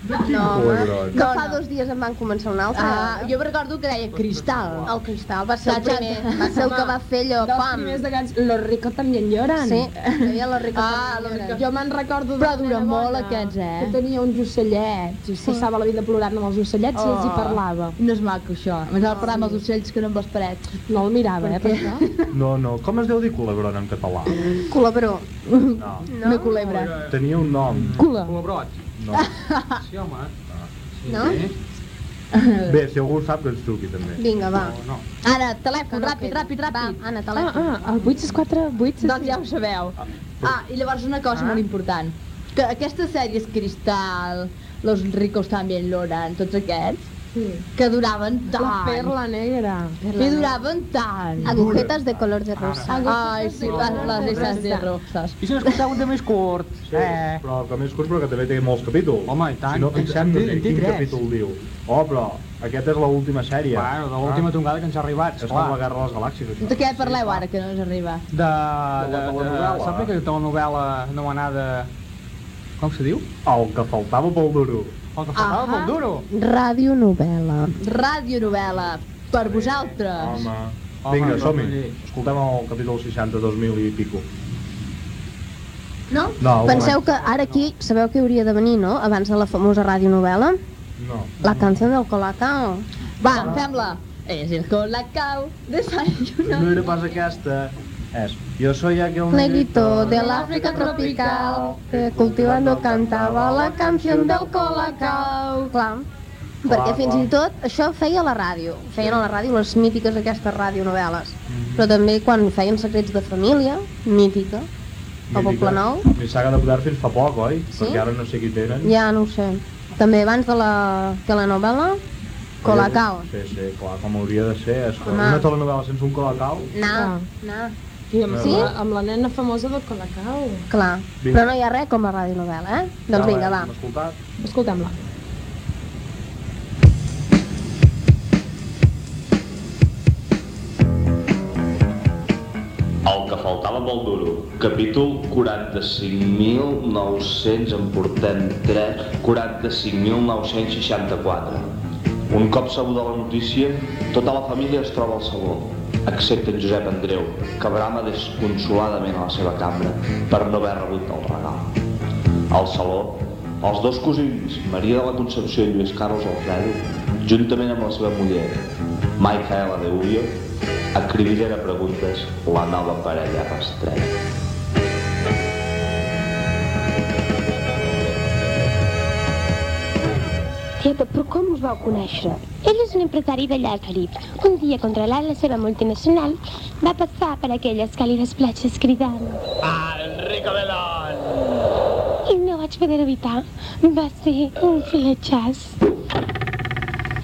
Speaker 2: No, home.
Speaker 5: Culebrón.
Speaker 2: No, fa dos dies en van començar un altre.
Speaker 6: Ah, jo recordo que deia Cristal.
Speaker 2: El Cristal va ser el
Speaker 6: Saps-
Speaker 2: primer, va ser el que va fer allò,
Speaker 3: Dels
Speaker 2: pam.
Speaker 3: primers d'aquests, Los ricos también lloran.
Speaker 2: Sí, hi havia la rica
Speaker 6: Ah,
Speaker 2: Família.
Speaker 6: la rica-
Speaker 3: Jo me'n recordo d'una
Speaker 6: Però dura
Speaker 3: nena
Speaker 6: molt,
Speaker 3: bona
Speaker 6: aquests, eh?
Speaker 3: Que tenia uns ocellets i es passava la vida plorant amb els ocellets i els hi parlava.
Speaker 6: No és maco, això. Més ara parlar amb els ocells que no amb les parets.
Speaker 3: No el mirava, eh, per això.
Speaker 5: No, no, com es deu dir culebron en català?
Speaker 2: Culebró.
Speaker 5: No.
Speaker 6: No, no culebra.
Speaker 5: Tenia un nom.
Speaker 3: Cula.
Speaker 4: Culebrot.
Speaker 6: [LAUGHS]
Speaker 5: No.
Speaker 4: Sí, home. Sí.
Speaker 2: No?
Speaker 5: Bé, si algú ho sap, que ens truqui també.
Speaker 2: Vinga, va.
Speaker 4: O no.
Speaker 6: Ara, telèfon,
Speaker 2: Que no
Speaker 6: ràpid,
Speaker 2: queda.
Speaker 6: ràpid, ràpid.
Speaker 2: Va, Anna,
Speaker 3: Ah,
Speaker 2: telèfon.
Speaker 3: ah, el 864, 8
Speaker 6: Doncs ja ho sabeu. Ah, i llavors una cosa molt important. Que aquestes sèries Cristal, Los ricos también lloran, tots aquests, que duraven tant.
Speaker 3: La perla negra.
Speaker 6: Que duraven tant.
Speaker 2: Agujetas de color de rosa.
Speaker 6: Ai, sí, les, les esas de roxes.
Speaker 4: I si n'escolteu un de més curt? Eh.
Speaker 5: Sí,
Speaker 6: Eh.
Speaker 5: però que més curs, però que també té molts capítols.
Speaker 4: Home, i tant.
Speaker 5: Si no, pensem
Speaker 4: En té-
Speaker 5: en
Speaker 4: en té
Speaker 5: quin
Speaker 4: tres.
Speaker 5: capítol diu. Oh, però aquesta és l'última sèrie.
Speaker 4: Bueno, de l'última
Speaker 5: Ah,
Speaker 4: tongada que ens ha arribat,
Speaker 5: És com la
Speaker 4: esclar.
Speaker 5: Guerra de les Galàxies,
Speaker 6: De
Speaker 5: això.
Speaker 6: què parleu ara, que no ens arriba?
Speaker 4: De, de,
Speaker 5: la
Speaker 4: de,
Speaker 5: telenovel·la.
Speaker 4: saps aquella telenovel·la anomenada... Com se diu?
Speaker 5: El que faltava pel duro.
Speaker 4: El que faltava
Speaker 6: Ahà.
Speaker 4: molt duro.
Speaker 2: Ràdio novel·la.
Speaker 6: Radionovel·la, per vosaltres.
Speaker 5: Home.
Speaker 4: Home, doncs,
Speaker 5: Vinga,
Speaker 4: no,
Speaker 5: som-hi.
Speaker 4: sí.
Speaker 5: Escoltem el capítol 60, 2000 i pico.
Speaker 2: No?
Speaker 5: No,
Speaker 2: Penseu que ara aquí, sabeu que hauria de venir, no?, abans de la famosa ràdio novel·la?
Speaker 5: No.
Speaker 2: La canción del Colacao.
Speaker 6: Va, fem-la. És el Colacao de
Speaker 5: No
Speaker 6: Sayuna.
Speaker 5: era pas aquesta. És, jo soy aquel
Speaker 2: Negrito del África tropical, que cultivando cantava la canción del Colacao. Clar, perquè fins i tot això feia la ràdio. Feien a la ràdio les mítiques aquestes radionovel·les. Però també quan feien Secrets de Família, mítica, al Poble Nou,
Speaker 5: Mi saga de poder fins fa poc, oi?
Speaker 2: Sí?
Speaker 5: Perquè ara no sé qui tenen.
Speaker 2: ja no ho sé. També abans de la telenovela, Colacao.
Speaker 5: Sí, sí, clar, com hauria de ser. És que
Speaker 2: Home. Doncs
Speaker 5: una telenovela sense un colacao...
Speaker 2: No, no.
Speaker 3: I amb,
Speaker 5: Sí?
Speaker 3: la, amb la nena famosa del Colacau.
Speaker 2: Clar,
Speaker 5: Vinga.
Speaker 2: però no hi ha res com la radionovel·la, eh?
Speaker 11: Ah,
Speaker 2: Doncs vinga, va.
Speaker 5: Hem escoltat.
Speaker 3: Escoltem-la.
Speaker 7: El que faltava molt duro. Capítol 45.900, en portem 3, 45.964. Un cop sabuda la notícia, tota la família es troba al saló, excepte en Josep Andreu, que brama desconsoladament a la seva cambra per no haver rebut el regal. Al saló, els dos cosins, Maria de la Concepció i Lluís Carlos Alfredo, juntament amb la seva muller, Micaela de Ullo, acribillen a preguntes la nova parella rastrella.
Speaker 10: Tieta, però com us vau conèixer? Ell és un empresari de Llazarit. Un dia, controlant la seva multinacional, va passar per aquelles càlides platges cridant.
Speaker 12: Enrico Belón.
Speaker 10: I no vaig poder evitar. Va ser un fletxàs.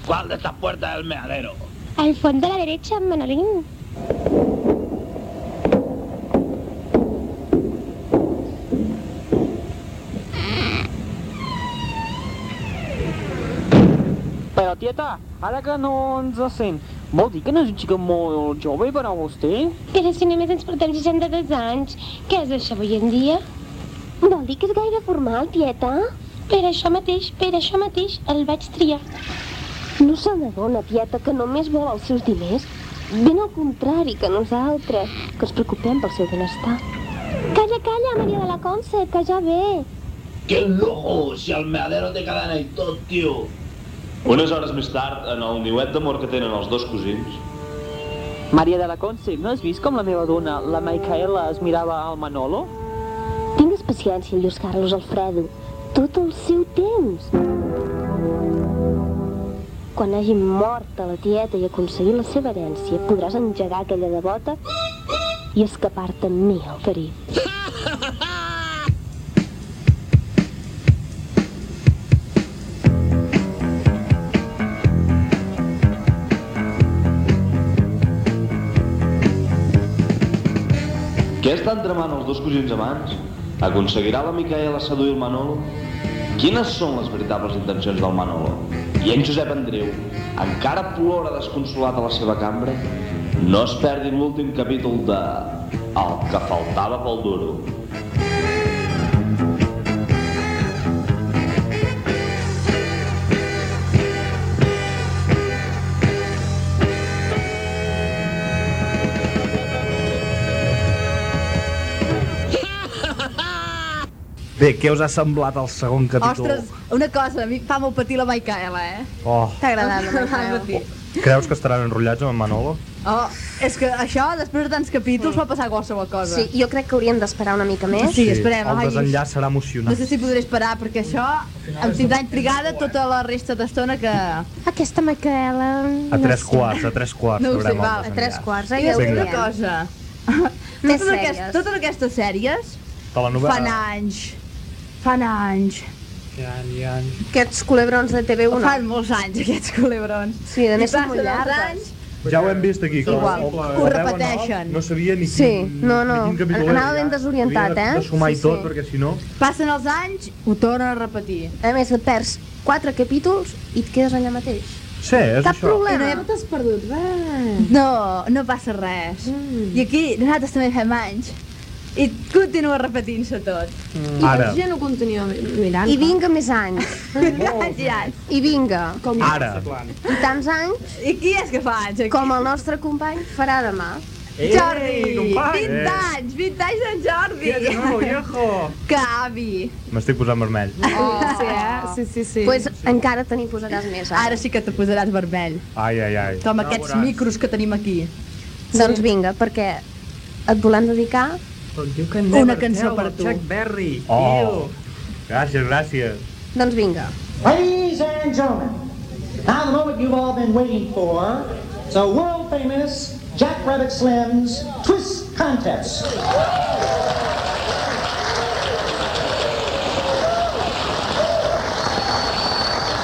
Speaker 12: ¿Cuál de estas puertas es el meadero?
Speaker 10: Al fons de la derecha, Manolín.
Speaker 8: Però, tieta, ara que no ens sent, vol dir que no és un xica molt jove per a vostè?
Speaker 10: Però si només ens portem 62 anys, què és això avui en dia? Vol dir que és gaire formal, tieta? Per això mateix, per això mateix, el vaig triar. No se n'adona, tieta, que només vol els seus diners. Ben al contrari que nosaltres, que ens preocupem pel seu benestar. Calla, calla, Maria de la Conce, que ja ve.
Speaker 7: Que lujo! Si el meadero té cadena i tot, tio! Unes hores més tard, en el niuet d'amor que tenen els dos cosins,
Speaker 8: Maria de la Conce, no has vist com la meva dona, la Micaela, es mirava al Manolo?
Speaker 10: Tingues paciència, Lluís Carlos Alfredo. Tot el seu temps. Quan hagi mort a la tieta i aconseguir la seva herència, podràs engegar aquella devota i escapar-te amb mi, el ferit.
Speaker 7: Què estan tramant els dos cosins amants? Aconseguirà la Micaela seduir el Manolo? Quines són les veritables intencions del Manolo? I en Josep Andreu, encara plora desconsolat a la seva cambra? No es perdin l'últim capítol de... El que faltava pel duro.
Speaker 11: Bé, què us ha semblat el segon capítol?
Speaker 6: Ostres, una cosa, a mi fa molt patir la Micaela, eh?
Speaker 11: Oh,
Speaker 6: T'ha agradat [LAUGHS]
Speaker 2: la
Speaker 6: Micaela?
Speaker 11: creus que estaran enrotllats amb en Manolo?
Speaker 6: Oh, és que això, després de tants capítols, va passar qualsevol cosa.
Speaker 2: Sí, jo crec que hauríem d'esperar una mica més.
Speaker 6: Sí, esperem.
Speaker 11: El
Speaker 6: ai,
Speaker 11: desenllaç serà emocionant.
Speaker 6: No sé si podré esperar, perquè això em tindrà intrigada tota la resta d'estona que...
Speaker 10: Aquesta Micaela...
Speaker 11: A tres quarts, a tres quarts.
Speaker 6: No ho sé,
Speaker 11: veurem el
Speaker 6: va.
Speaker 11: desenllaç.
Speaker 2: eh?
Speaker 6: I
Speaker 11: ja ho
Speaker 6: després una
Speaker 11: veiem.
Speaker 6: cosa. Totes,
Speaker 2: sèries.
Speaker 6: aquest, totes aquestes sèries
Speaker 11: Telenovela.
Speaker 6: fan anys. Fan anys.
Speaker 2: Aquests culebrons de TV1.
Speaker 6: Fan molts anys, aquests culebrons.
Speaker 2: Sí, a més
Speaker 6: I
Speaker 2: són
Speaker 6: passen
Speaker 2: molt
Speaker 6: els
Speaker 2: llargs.
Speaker 6: Anys,
Speaker 11: Ja ho hem vist aquí. que
Speaker 6: Igual,
Speaker 11: el- el-
Speaker 6: ho
Speaker 11: el- el-
Speaker 6: repeteixen.
Speaker 11: No sabia ni
Speaker 2: Sí,
Speaker 11: quin,
Speaker 2: no, no.
Speaker 11: ni quin capítol era.
Speaker 2: Anava ben desorientat,
Speaker 11: Havia de-
Speaker 2: eh?
Speaker 11: De sumar
Speaker 2: Sí,
Speaker 11: i tot,
Speaker 2: sí.
Speaker 11: perquè si no...
Speaker 6: passen els anys, ho tornen a repetir.
Speaker 2: A més, et perds quatre capítols i et quedes allà mateix.
Speaker 11: Sí, és
Speaker 2: Cap
Speaker 11: això.
Speaker 2: problema.
Speaker 6: No t'has perdut res. No, no passa res. Mm. I aquí nosaltres també fem anys. I continua repetint-se tot.
Speaker 11: Mm. Ara.
Speaker 6: no continua
Speaker 2: I vinga més anys.
Speaker 6: [LAUGHS]
Speaker 2: I vinga.
Speaker 6: Com
Speaker 11: Ara.
Speaker 2: I tants anys.
Speaker 6: I qui és que fa anys aquí?
Speaker 2: Com el nostre company farà demà.
Speaker 3: Jordi!
Speaker 5: Eh, company!
Speaker 3: 20 anys! 20 anys d'en Jordi!
Speaker 5: Sí, de nou, viejo!
Speaker 3: Que avi!
Speaker 5: M'estic posant vermell.
Speaker 3: Sí, eh? Sí, sí, sí.
Speaker 2: Pues encara te n'hi posaràs més. eh?
Speaker 6: Ara sí que te posaràs vermell.
Speaker 5: Ai, ai, ai.
Speaker 6: Amb aquests
Speaker 5: Veuràs.
Speaker 6: micros que tenim aquí.
Speaker 2: Doncs vinga, perquè et volem dedicar
Speaker 13: Doncs diu que
Speaker 6: Una cançó per tu.
Speaker 13: Chuck Berry.
Speaker 5: Oh! Gràcies, gràcies.
Speaker 2: Doncs vinga.
Speaker 14: Ladies and gentlemen, now the moment you've all been waiting for, the world famous Jack Rabbit Slim's Twist Contest.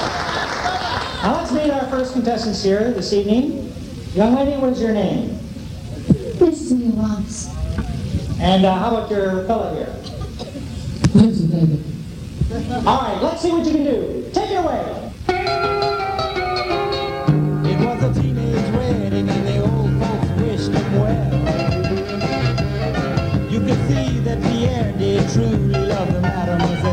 Speaker 14: Now let's meet our first contestants here this evening. Young lady, what is your name?
Speaker 10: Brittany Ross.
Speaker 14: And uh, how about your fellow here?
Speaker 10: Listen, David.
Speaker 14: All right, let's see what you can do. Take it away.
Speaker 4: It was a teenage wedding and the old folks wished him well. You could see that Pierre did truly love the mademoiselle.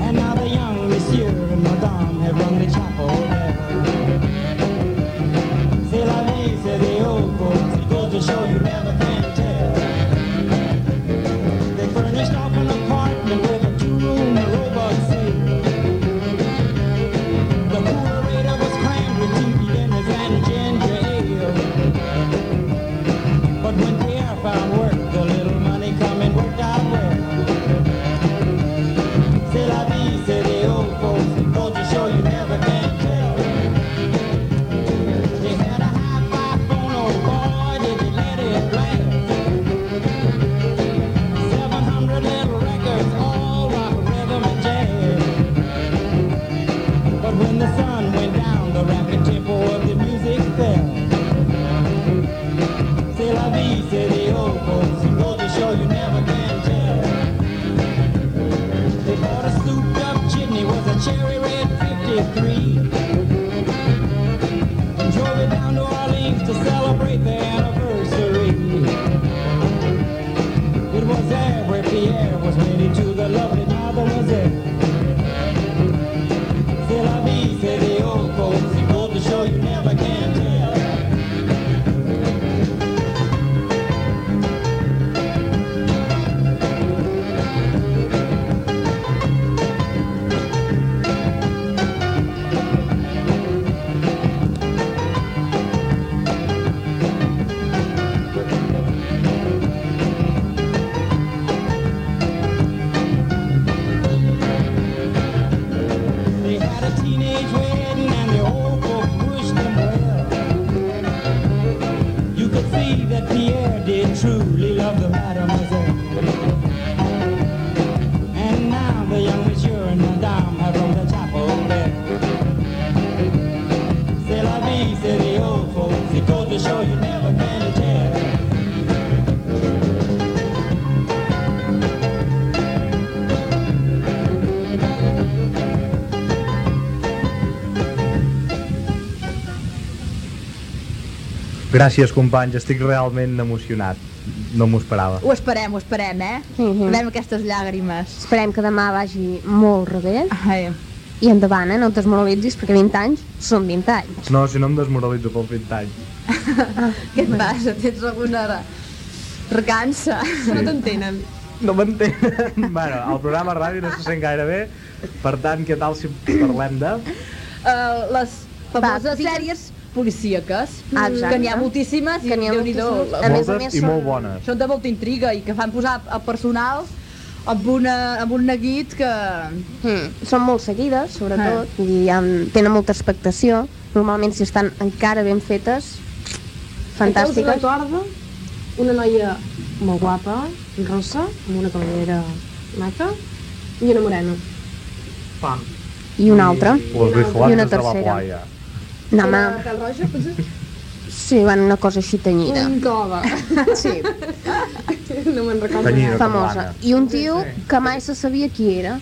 Speaker 4: And now the young monsieur and madame have rung the chapel bell. C'est la vie, said the old folks, it goes to show you never can tell. They furnished up an apartment with a two-room robot sale. The cooler was crammed with TV dinners and ginger ale. But when Pierre found work, the little money coming worked out well. C'est la vie, say the old folks. It goes to show you never can tell. They had a high-five phone, oh boy, did they let it blast. 700 little records, all rock, rhythm, and jazz. But when the sun went down, the rapid tempo of the music fell. C'est la vie, say the old folks. It goes to show you never can tell. They bought a souped up chimney, was a cherry red 53. And drove it down to Orleans to celebrate the anniversary. It was there where Pierre was married to the lovely mademoiselle. C'est la vie, say the old folks. It goes to show you never can tell. They had a teenage wedding and the old folks wished them well. You could see that Pierre did truly love the mademoiselle. And now the young monsieur and madame have rung the chapel bell. C'est la vie, say the old folks. It goes to show you never can tell.
Speaker 5: Gràcies, companys, estic realment emocionat. No m'ho esperava.
Speaker 6: Ho esperem, ho esperem, eh?
Speaker 2: Mhm.
Speaker 6: Esperem aquestes llàgrimes.
Speaker 2: Esperem que demà vagi molt rebé.
Speaker 6: Ai.
Speaker 2: I endavant, eh? no et desmoralitzis, perquè 20 anys són 20 anys.
Speaker 5: No, si no em desmoralitzo pel pintant.
Speaker 3: Què et passa? Tens alguna re- recança?
Speaker 5: No
Speaker 3: t'entenen.
Speaker 5: No m'entenen. [LAUGHS] bueno, el programa ràdio no se sent gaire bé, per tant, què tal si parlem de...
Speaker 6: Uh, les famoses sèries policíaques,
Speaker 2: Ah, exacte.
Speaker 6: que n'hi ha moltíssimes i
Speaker 2: Que n'hi ha
Speaker 6: Déu-n'hi-do.
Speaker 2: moltíssimes.
Speaker 5: A més a Moltes més i són- molt bones.
Speaker 6: Són de molta intriga i que fan posar el personal amb, una, amb un neguit que...
Speaker 2: Mm. Són molt seguides, sobretot, i um, tenen molta expectació. Normalment, si estan encara ben fetes,
Speaker 3: Fantàstica.
Speaker 2: fantàstiques.
Speaker 3: recordo una noia molt guapa, rossa, amb una cabellera maca i una morena.
Speaker 13: Pam.
Speaker 2: I una altra.
Speaker 5: Los
Speaker 2: I una
Speaker 5: vigilantes de la
Speaker 2: tercera.
Speaker 5: playa.
Speaker 2: No, home,
Speaker 3: Una pèl roja, potser?
Speaker 2: sí, van una cosa així tenyida.
Speaker 3: Un cova.
Speaker 2: Sí.
Speaker 3: [LAUGHS] no me'n recordo.
Speaker 6: Tenyida,
Speaker 2: Famosa.
Speaker 6: catalana.
Speaker 2: I un tio que mai se sabia qui era.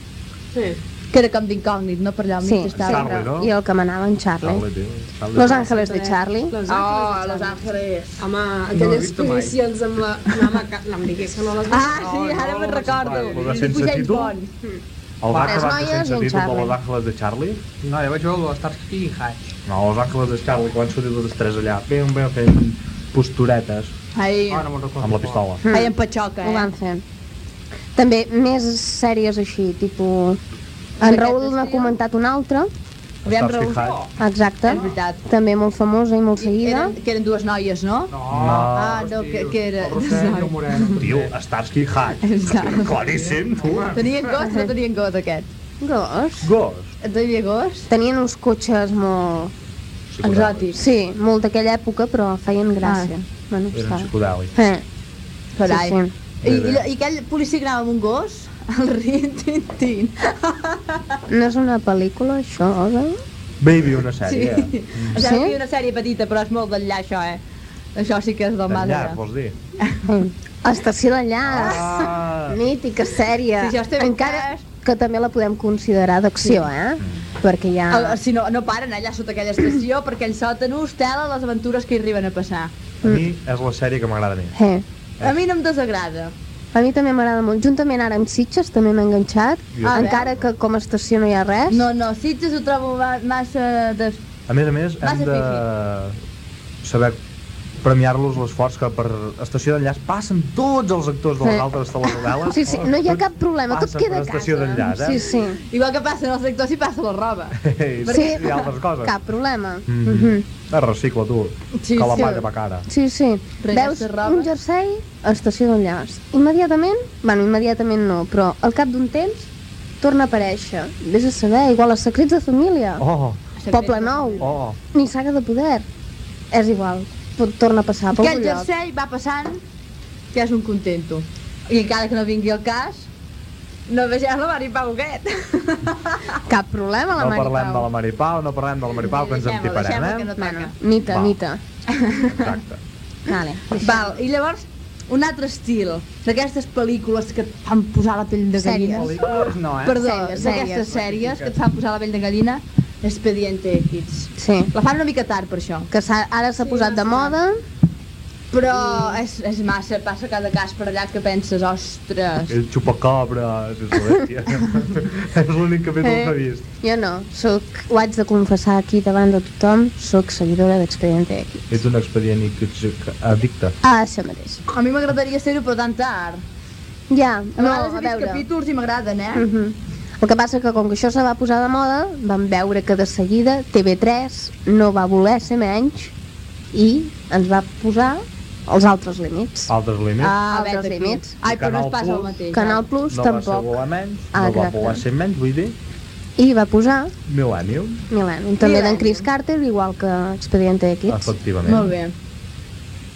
Speaker 3: Sí.
Speaker 6: Que era com d'incògnit, no? Per allà al mig
Speaker 2: Sí,
Speaker 6: estava.
Speaker 2: sempre. I el que manava en Charlie.
Speaker 5: Charlie.
Speaker 2: Los Ángeles de Charlie.
Speaker 6: Ah,
Speaker 3: Oh, Los Ángeles. Home,
Speaker 2: No l'he
Speaker 3: aquelles
Speaker 2: vist mai.
Speaker 3: posicions amb la... No, home, que... no em diguis que no les
Speaker 6: Ah, sí, ara me'n recordo.
Speaker 5: Lo de sense títol? El gat que va ser sense títol de Los Ángeles de Charlie?
Speaker 13: No, jo vaig veure el Starsky i Hatch.
Speaker 5: No, Los Ángeles de Charlie, que van sortir totes tres allà. Bim, bim, bim. posturetes
Speaker 6: Ai,
Speaker 5: amb la pistola.
Speaker 6: Ai, em patxoca,
Speaker 2: Hmm.
Speaker 6: eh?
Speaker 2: Ho van fer. També més sèries així, tipus... En Raül n'ha comentat una altra.
Speaker 6: Aviam, Raül. High.
Speaker 2: Exacte.
Speaker 6: És veritat.
Speaker 2: També molt famosa i molt seguida.
Speaker 6: Eren, que eren dues noies, no? No. Ah, no, que, que era... [LAUGHS]
Speaker 5: Tio, Starsky Hutch.
Speaker 6: Exacte.
Speaker 5: Claríssim, tu.
Speaker 6: Tenien gos o no tenien gos, aquest?
Speaker 2: Gos.
Speaker 5: Gos.
Speaker 6: Tenia gos?
Speaker 2: Tenien uns cotxes molt...
Speaker 6: Exòtics.
Speaker 2: Sí, molt d'aquella època, però feien gràcia. Ah. Bueno,
Speaker 5: Eren
Speaker 2: estava.
Speaker 5: psicodèlics.
Speaker 2: Eh.
Speaker 6: Carai.
Speaker 2: Sí, sí.
Speaker 6: I, i, I aquell policia que anava amb un gos? [LAUGHS] El Rin Tin Tin.
Speaker 2: No és una pel·lícula, això, Oda?
Speaker 5: Baby, una sèrie.
Speaker 6: Sí. Em sembla que hi ha una sèrie petita, però és molt d'enllà, això, eh? Això sí que és del eh?
Speaker 5: Tan
Speaker 6: mànega.
Speaker 5: llarg, vols dir?
Speaker 2: Estació de Llars. Ah. Mítica sèrie.
Speaker 6: Ah. Sí, ja estem
Speaker 2: Encara que també la podem considerar d'acció, eh? Perquè hi ha...
Speaker 6: El, el- si no, no paren allà sota aquella estació perquè ells soten us tela les aventures que hi arriben a passar.
Speaker 5: A mi és la sèrie que m'agrada a mi.
Speaker 2: Eh.
Speaker 6: A mi no em desagrada.
Speaker 2: A mi també m'agrada molt. Juntament ara amb Sitges també m'he enganxat,
Speaker 5: Jo també.
Speaker 2: encara que com a estació no hi ha res.
Speaker 6: No, no, Sitges ho trobo ma- massa... De...
Speaker 5: A més a més,
Speaker 6: Va
Speaker 5: hem
Speaker 6: ser
Speaker 5: de saber premiar-los l'esforç que per estació d'enllaç passen tots els actors de
Speaker 2: Sí.
Speaker 5: les altres telenovel·les.
Speaker 2: Sí, sí, no hi ha cap problema, tot
Speaker 5: passa
Speaker 2: queda
Speaker 5: per
Speaker 2: a
Speaker 5: estació
Speaker 2: casa.
Speaker 5: d'enllaç, eh?
Speaker 2: Sí, sí.
Speaker 6: Igual que passen els actors i passa la
Speaker 5: [LAUGHS]
Speaker 6: roba.
Speaker 5: I, sí. i altres coses.
Speaker 2: Cap problema.
Speaker 5: Mhm.
Speaker 2: Mhm.
Speaker 5: Es recicla, tu.
Speaker 2: Sí,
Speaker 5: que la
Speaker 2: sí.
Speaker 5: paga va cara.
Speaker 2: Sí, sí. Veus un jersei a estació d'enllaç. Immediatament, bueno, immediatament no, però al cap d'un temps torna a aparèixer. Vés a saber, igual a Secrets de Família,
Speaker 5: Oh.
Speaker 2: Poble Nou,
Speaker 5: Oh.
Speaker 2: ni Saga de Poder. És igual, pot, torna a passar pel
Speaker 6: Aquell
Speaker 2: lloc.
Speaker 6: jersei va passant que és un contento. I encara que no vingui el cas, no vegeu la Mari Pau Guet.
Speaker 2: Cap problema, la
Speaker 5: No
Speaker 2: Mari
Speaker 5: parlem
Speaker 2: Pau.
Speaker 5: de la Mari Pau, no parlem de la Mari Pau, que ens en
Speaker 6: Deixem-ho,
Speaker 5: tiparem,
Speaker 6: deixem-ho,
Speaker 5: eh?
Speaker 6: que no toca.
Speaker 2: Mita,
Speaker 5: Va.
Speaker 2: mita.
Speaker 5: Exacte.
Speaker 2: [LAUGHS] Vale.
Speaker 6: Val, i llavors, un altre estil, d'aquestes pel·lícules que et fan posar la pell de gallina.
Speaker 8: Sèries. Pel·lícules no, eh?
Speaker 6: Perdó,
Speaker 8: Sèries,
Speaker 6: d'aquestes
Speaker 8: sèries.
Speaker 6: sèries que et fan posar la pell de gallina, Expediente X.
Speaker 2: Sí.
Speaker 6: La fan una mica tard, per això.
Speaker 2: Que ara s'ha posat de moda.
Speaker 6: Però
Speaker 5: Mm.
Speaker 6: és, és massa, passa cada cas per allà que penses, ostres...
Speaker 5: El xupacabra, és
Speaker 2: [LAUGHS]
Speaker 5: l'hòstia. és l'únic capítol
Speaker 2: Eh.
Speaker 5: que he vist.
Speaker 2: Jo no, sóc, ho haig de confessar aquí davant de tothom, sóc seguidora d'Expediente X.
Speaker 5: Ets un expedient i que ets addicte.
Speaker 2: Ah, això mateix.
Speaker 6: A mi m'agradaria ser-ho, però tan tard.
Speaker 2: Ja,
Speaker 6: A
Speaker 2: no, a
Speaker 6: vegades he vist
Speaker 2: veure.
Speaker 6: capítols i m'agraden, eh?
Speaker 2: Mm El que passa que com que això se va posar de moda, vam veure que de seguida TV3 no va voler ser menys i ens va posar els altres límits.
Speaker 5: Altres límits.
Speaker 2: Ah,
Speaker 6: vet
Speaker 2: altres
Speaker 6: aquí.
Speaker 2: límits.
Speaker 6: Ai, però no
Speaker 5: Canal
Speaker 6: es passa el
Speaker 5: Plus.
Speaker 6: mateix.
Speaker 2: Canal
Speaker 6: Doncs
Speaker 2: Plus
Speaker 5: Ah, no va ser
Speaker 2: tampoc.
Speaker 5: voler menys,
Speaker 2: Ah,
Speaker 5: no va
Speaker 2: exacte.
Speaker 5: voler ser menys, vull dir,
Speaker 2: I va posar
Speaker 5: Millennium,
Speaker 2: Millennium, també d'en Chris Carter, igual que Expediente
Speaker 5: Ah,
Speaker 2: X.
Speaker 5: efectivament.
Speaker 6: Molt bé.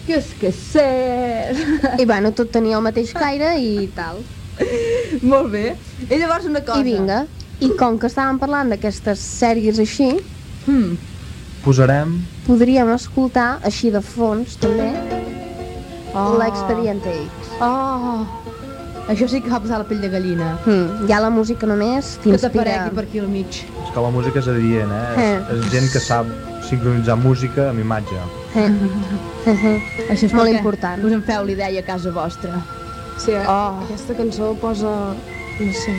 Speaker 6: Que és que ser...
Speaker 2: I bueno, tot tenia el mateix caire i tal.
Speaker 6: [LAUGHS] Molt bé. I llavors una cosa.
Speaker 2: I vinga. I com que estàvem parlant d'aquestes sèries així,
Speaker 6: hmm.
Speaker 5: Posarem
Speaker 2: podríem escoltar així de fons també oh. l'expediente X.
Speaker 6: Oh, això sí que va posar la pell de gallina.
Speaker 2: Mm, hi ha la música només,
Speaker 6: Que
Speaker 2: t'inspira...
Speaker 6: t'aparegui per aquí al mig.
Speaker 5: És que la música és adient, eh? És,
Speaker 2: Eh.
Speaker 5: és gent que sap sincronitzar música amb imatge.
Speaker 2: Eh.
Speaker 6: Això és
Speaker 15: Molt
Speaker 6: important. Us en feu l'idea a casa vostra.
Speaker 15: Sí,
Speaker 3: eh,
Speaker 15: oh. aquesta cançó posa... no sé...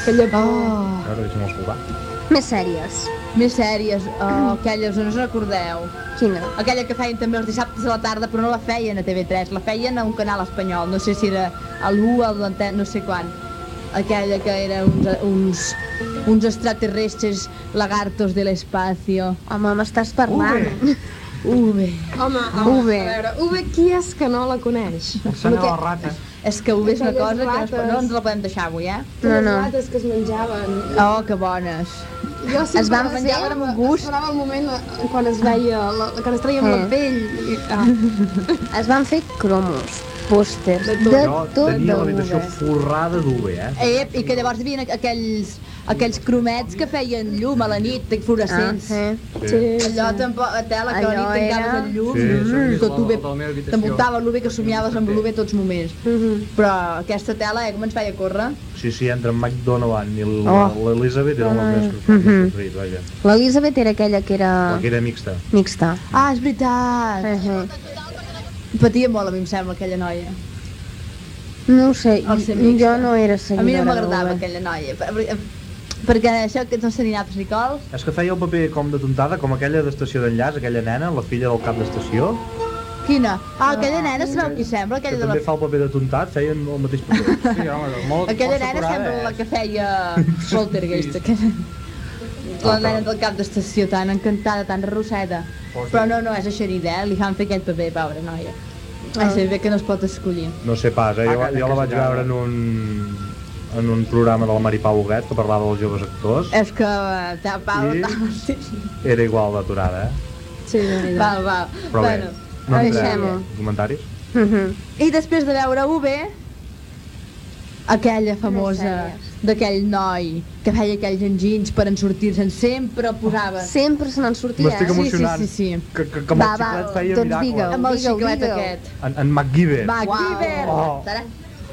Speaker 15: aquella por...
Speaker 6: Oh.
Speaker 5: A veure, deixa'm escoltar.
Speaker 2: Més sèries.
Speaker 6: Més sèries, oh, aquelles, no us recordeu?
Speaker 2: Quina?
Speaker 6: Aquella que feien també els dissabtes a la tarda, però no la feien a TV3, la feien a un canal espanyol, no sé si era a l'1, a l'antena, no sé quan. Aquella que era uns, uns, uns extraterrestres lagartos de l'espacio.
Speaker 2: Home, m'estàs parlant.
Speaker 6: Ube.
Speaker 15: Home, home,
Speaker 6: Ube.
Speaker 15: a veure, Ube, qui és que no la coneix?
Speaker 6: Sona Perquè- les rates. És que Ube és una cosa
Speaker 15: Aquelles
Speaker 6: que no, es pot-
Speaker 15: rates.
Speaker 6: no ens la podem deixar avui, eh?
Speaker 15: No, no. Les rates que es menjaven.
Speaker 6: Oh, que bones.
Speaker 15: Jo sempre
Speaker 6: es van
Speaker 15: les
Speaker 6: menjar
Speaker 15: veia,
Speaker 6: amb un gust.
Speaker 15: Esperava el moment eh, quan es veia, la, quan es treien la
Speaker 2: Eh.
Speaker 15: pell. I, ah.
Speaker 2: Es van fer cromos, pòsters, de Ah,
Speaker 5: Jo
Speaker 2: tot, de
Speaker 5: tenia l'habitació
Speaker 2: UV.
Speaker 5: forrada d'UV, eh?
Speaker 6: Ep, i que llavors hi havia aqu- aquells, aquells cromets que feien llum a la nit, fluorescents.
Speaker 2: Ah,
Speaker 5: sí. Sí,
Speaker 6: Allò tampoc, a tela, que a
Speaker 2: Allò
Speaker 6: la nit tancaves
Speaker 2: era-
Speaker 6: el llum,
Speaker 2: Sí,
Speaker 6: mm,
Speaker 2: això és
Speaker 6: tot
Speaker 2: la-
Speaker 6: ho bé,
Speaker 2: la meva habitació.
Speaker 6: t'envoltava l'UV que somiaves amb l'UV tots moments.
Speaker 2: Mhm.
Speaker 6: Però aquesta tela, eh, com ens feia córrer?
Speaker 5: Sí, sí, entre en McDonald's i l-
Speaker 2: Oh.
Speaker 5: l'Elizabeth eren
Speaker 2: Ah.
Speaker 5: els meus preferits, vaja.
Speaker 2: L'Elisabet era aquella que era
Speaker 5: La que era mixta.
Speaker 2: mixta.
Speaker 6: Ah, és veritat! Patia molt, a mi em sembla, aquella noia.
Speaker 2: No ho sé,
Speaker 6: Al ser mixta.
Speaker 2: jo no era
Speaker 6: A
Speaker 2: seguidora
Speaker 6: mi no m'agradava
Speaker 2: d'UV.
Speaker 6: aquella noia, per- per- perquè això que no sé ni naps ni cols,
Speaker 5: És que feia el paper com de tontada, com aquella d'estació d'enllaç, aquella nena, la filla del cap d'estació,
Speaker 6: Quina? Ah, aquella nena, sabeu qui sembla?
Speaker 4: Que
Speaker 6: Aquella de la...
Speaker 4: també fa el paper de tontat, feien el mateix paper. Sí, home, molt, eh?
Speaker 6: Aquella nena sembla la que
Speaker 4: [LAUGHS]
Speaker 6: feia Poltergeist, aquella... La nena del cap d'estació, tan encantada, tan rosseta.
Speaker 4: Ostres.
Speaker 6: Però no, no, és a Xeridel, li han fet aquest paper, pobra noia. Ai, sé bé que no es pot escollir.
Speaker 4: No sé pas, eh? Jo,
Speaker 6: Ah, que-
Speaker 4: jo la
Speaker 6: que
Speaker 4: vaig
Speaker 6: sí, ja.
Speaker 4: veure en un, en un programa del Mari Pau Huguet que parlava dels joves actors.
Speaker 6: És que... eh, Ta, Pau,
Speaker 4: I-
Speaker 6: ta, sí,
Speaker 4: Era igual d'aturada, eh?
Speaker 6: sí, val, val.
Speaker 4: Però
Speaker 6: bueno,
Speaker 4: bé, no entrem
Speaker 6: deixem-ho.
Speaker 4: en comentaris.
Speaker 2: Mhm.
Speaker 6: I després de veure UB, aquella famosa d'aquell noi que feia aquells enginys per en sortir-se'n, sempre posaven. Sempre se n'en sortia,
Speaker 2: eh?
Speaker 4: M'estic emocionant.
Speaker 6: Sí, sí, sí.
Speaker 4: Que, que, que amb
Speaker 6: Va,
Speaker 4: el
Speaker 6: va,
Speaker 4: xiclet feia
Speaker 6: doncs
Speaker 4: miracle.
Speaker 6: digue-ho, Amb el digue-ho, xiclet digue-ho. aquest.
Speaker 4: En, en MacGyver.
Speaker 6: Va, Quiver!
Speaker 4: Oh.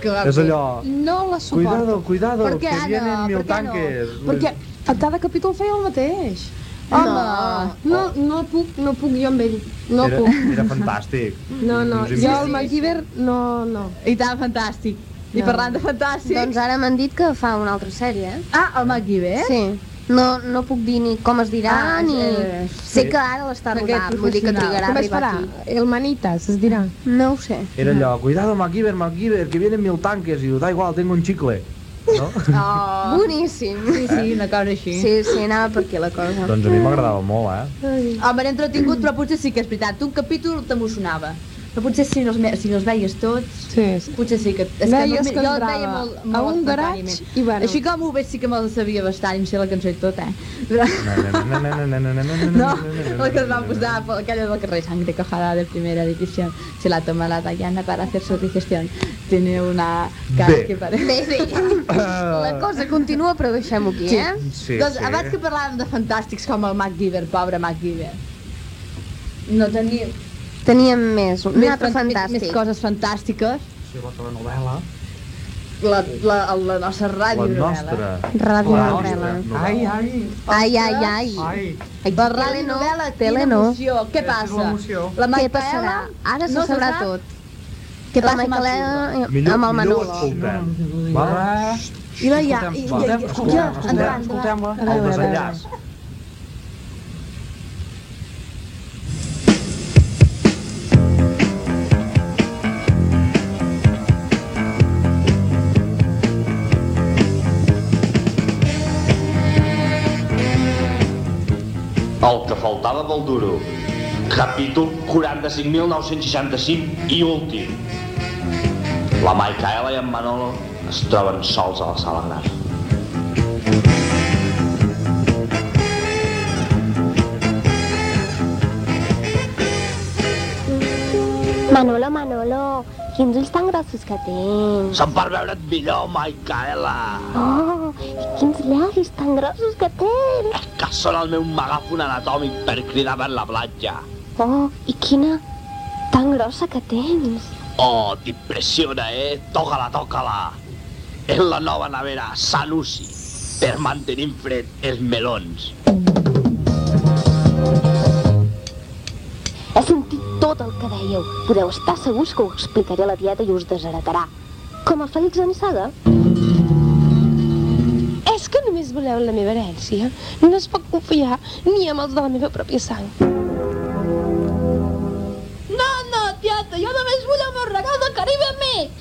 Speaker 6: Que-
Speaker 4: És allò,
Speaker 6: No la suporto.
Speaker 4: Cuidado, cuidado,
Speaker 6: Per què
Speaker 4: que
Speaker 6: ara?
Speaker 4: vienen mil
Speaker 6: Per què
Speaker 4: tanques.
Speaker 6: No? Perquè
Speaker 3: A cada capítol feia el mateix.
Speaker 6: Home.
Speaker 3: no, no puc, no puc jo amb ell. No
Speaker 4: era,
Speaker 3: puc.
Speaker 4: era fantàstic.
Speaker 3: No, no,
Speaker 4: Us
Speaker 3: jo
Speaker 4: imagino.
Speaker 3: el MacGyver no, no.
Speaker 6: I tant, fantàstic. I
Speaker 2: No.
Speaker 6: parlant de fantàstic...
Speaker 2: Doncs ara m'han dit que fa una altra sèrie, eh?
Speaker 6: Ah, el MacGyver?
Speaker 2: Sí. No, no puc dir ni com es dirà,
Speaker 3: Ah,
Speaker 2: ni...
Speaker 3: eh,
Speaker 2: sé
Speaker 3: sí.
Speaker 2: que ara l'està
Speaker 3: Aquest
Speaker 2: rodant, vull dir que
Speaker 3: professional.
Speaker 2: trigarà a
Speaker 3: Com es
Speaker 2: arribar
Speaker 3: farà?
Speaker 2: aquí.
Speaker 3: El Manitas, es dirà.
Speaker 2: No ho sé.
Speaker 4: Era allò, cuidado, MacGyver, MacGyver, que vienen mil tanques. I diu, da igual, tengo un chicle. No?
Speaker 2: Oh. Boníssim.
Speaker 6: Ah. Sí, sí, una cosa així.
Speaker 2: Sí, sí, anava per aquí la cosa.
Speaker 4: doncs a mi m'agradava molt, eh?
Speaker 6: Home, era Ah, entretingut, però potser sí que és veritat. Un capítol t'emocionava. Però potser si no els, me- si no els veies tots,
Speaker 3: sí, sí.
Speaker 6: potser sí que... És
Speaker 3: Veies
Speaker 6: no,
Speaker 3: que
Speaker 6: jo el
Speaker 3: entrava
Speaker 6: veia molt,
Speaker 3: a
Speaker 6: molt
Speaker 3: un garatge
Speaker 6: espontaniment.
Speaker 3: i bueno.
Speaker 6: Així com ho veig sí que me'l sabia bastant, i em sé la cançó i tot, eh? Però... No, la que es va posar per aquella del carrer Sangre Cojada de primera división. Se la toma la Dayana para hacer su digestión. Tiene una cara
Speaker 2: Bé.
Speaker 6: que parece...
Speaker 2: Bé, bé. La cosa continua, però deixem-ho aquí,
Speaker 6: Sí.
Speaker 2: eh?
Speaker 6: Sí, doncs abans que parlàvem de fantàstics com el MacGyver, pobre MacGyver, no tenia...
Speaker 2: Teníem més, un
Speaker 6: Més
Speaker 2: altre
Speaker 6: fan- més-
Speaker 2: fantàstic.
Speaker 6: més coses fantàstiques.
Speaker 4: Sí, la telenovela.
Speaker 6: La, la, la nostra ràdio
Speaker 4: La nostra.
Speaker 2: Ràdio
Speaker 4: La
Speaker 2: Novela.
Speaker 4: nostra.
Speaker 5: Ai, ai.
Speaker 2: Ai, ai, ai.
Speaker 6: La ràdio novel·la,
Speaker 2: tele
Speaker 6: tele
Speaker 2: no.
Speaker 6: no. Emoció. Què passa?
Speaker 2: Què
Speaker 6: La Micaela
Speaker 2: passarà? Ara se
Speaker 6: no
Speaker 2: sabrà
Speaker 6: sap?
Speaker 2: tot. Què
Speaker 6: La
Speaker 2: passa, Micaela, eh, amb el
Speaker 4: millor ho
Speaker 2: Manolo?
Speaker 4: escoltem. Va,
Speaker 6: I la ja...
Speaker 4: Escoltem,
Speaker 6: I, i,
Speaker 4: va.
Speaker 6: i, i,
Speaker 4: Escoltem, escoltem, escoltem-la. El desenllaç.
Speaker 16: El que faltava pel duro. Capítol 45.965 i últim. La Micaela i en Manolo es troben sols a la sala gran.
Speaker 10: Manolo, Manolo, quins ulls tan grossos que tens.
Speaker 7: Se'n per veure't millor, Micaela.
Speaker 10: Oh, i quins llavis tan grossos que tens.
Speaker 7: Que són el meu megàfon anatòmic per cridar per la platja.
Speaker 10: Oh, i quina tan grossa que tens.
Speaker 7: Oh, t'impressiona, eh? Toca-la, toca-la. És la nova nevera Sanusi per mantenir fred els melons.
Speaker 10: He sentit tot el que dèieu. Podeu estar segurs que ho explicaré a la tieta i us desheretarà. Com a Fèlix Anisaga.
Speaker 17: És que només voleu la meva herència? No es pot confiar ni amb els de la meva pròpia sang.
Speaker 18: No, no, tieta, jo només vull el meu regal de Caribe més.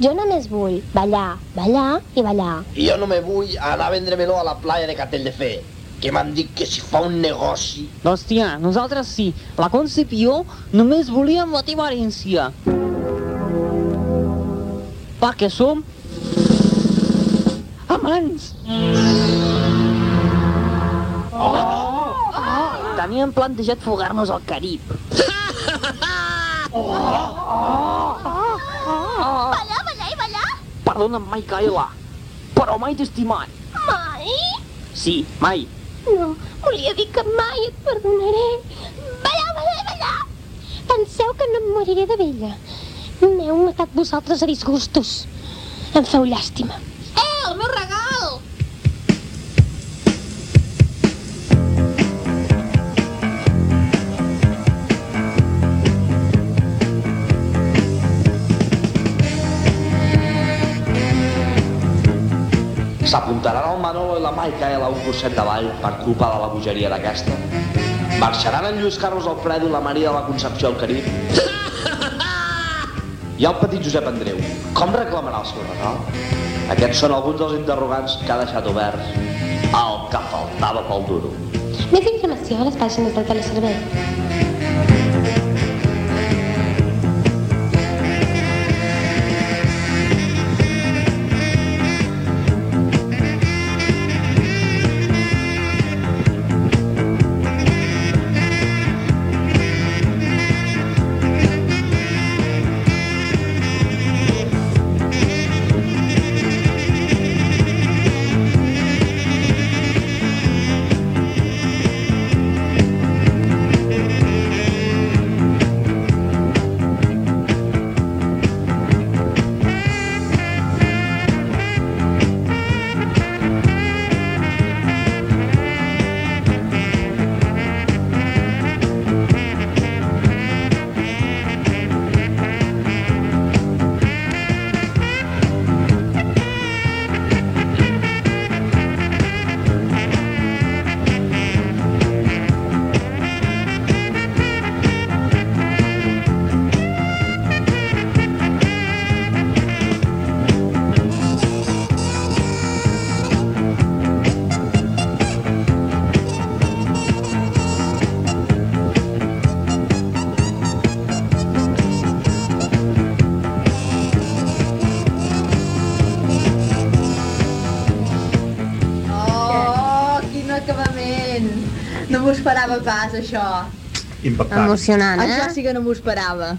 Speaker 10: Jo només vull ballar, ballar i ballar.
Speaker 7: I jo no me vull anar a vendre meló a la playa de Castelldefé, que m'han dit que si fa un negoci
Speaker 8: Doncs tia, nosaltres sí. La Concepció només volíem la teva herència. Perquè som... amants! Oh! oh! Teníem plantejat fugar-nos al Carib. Oh.
Speaker 17: Ballar, ballar i ballar?
Speaker 8: Perdona'm, Micaela, però mai t'he estimat.
Speaker 17: Mai?
Speaker 8: Sí, mai.
Speaker 17: No, volia dir que mai et perdonaré. Ballar, ballar i ballar! Penseu que no em moriré de vella. M'heu matat vosaltres a disgustos. Em feu llàstima. Eh, el meu regal!
Speaker 16: S'apuntaran el Manolo i la Micaela un curset de ball per culpa de la bogeria d'aquesta?
Speaker 7: Marxaran en Lluís Carlos Alfredo i la Maria de la Concepció al Carib? I el petit Josep Andreu, com reclamarà el seu regal? Aquests són alguns dels interrogants que ha deixat oberts el que faltava pel duro.
Speaker 10: Més informació a les pàgines del teleservei.
Speaker 6: Oh, quin acabament! No m'ho esperava pas, això.
Speaker 5: Impactant.
Speaker 2: Emocionant, eh?
Speaker 6: Això sí que no m'ho esperava.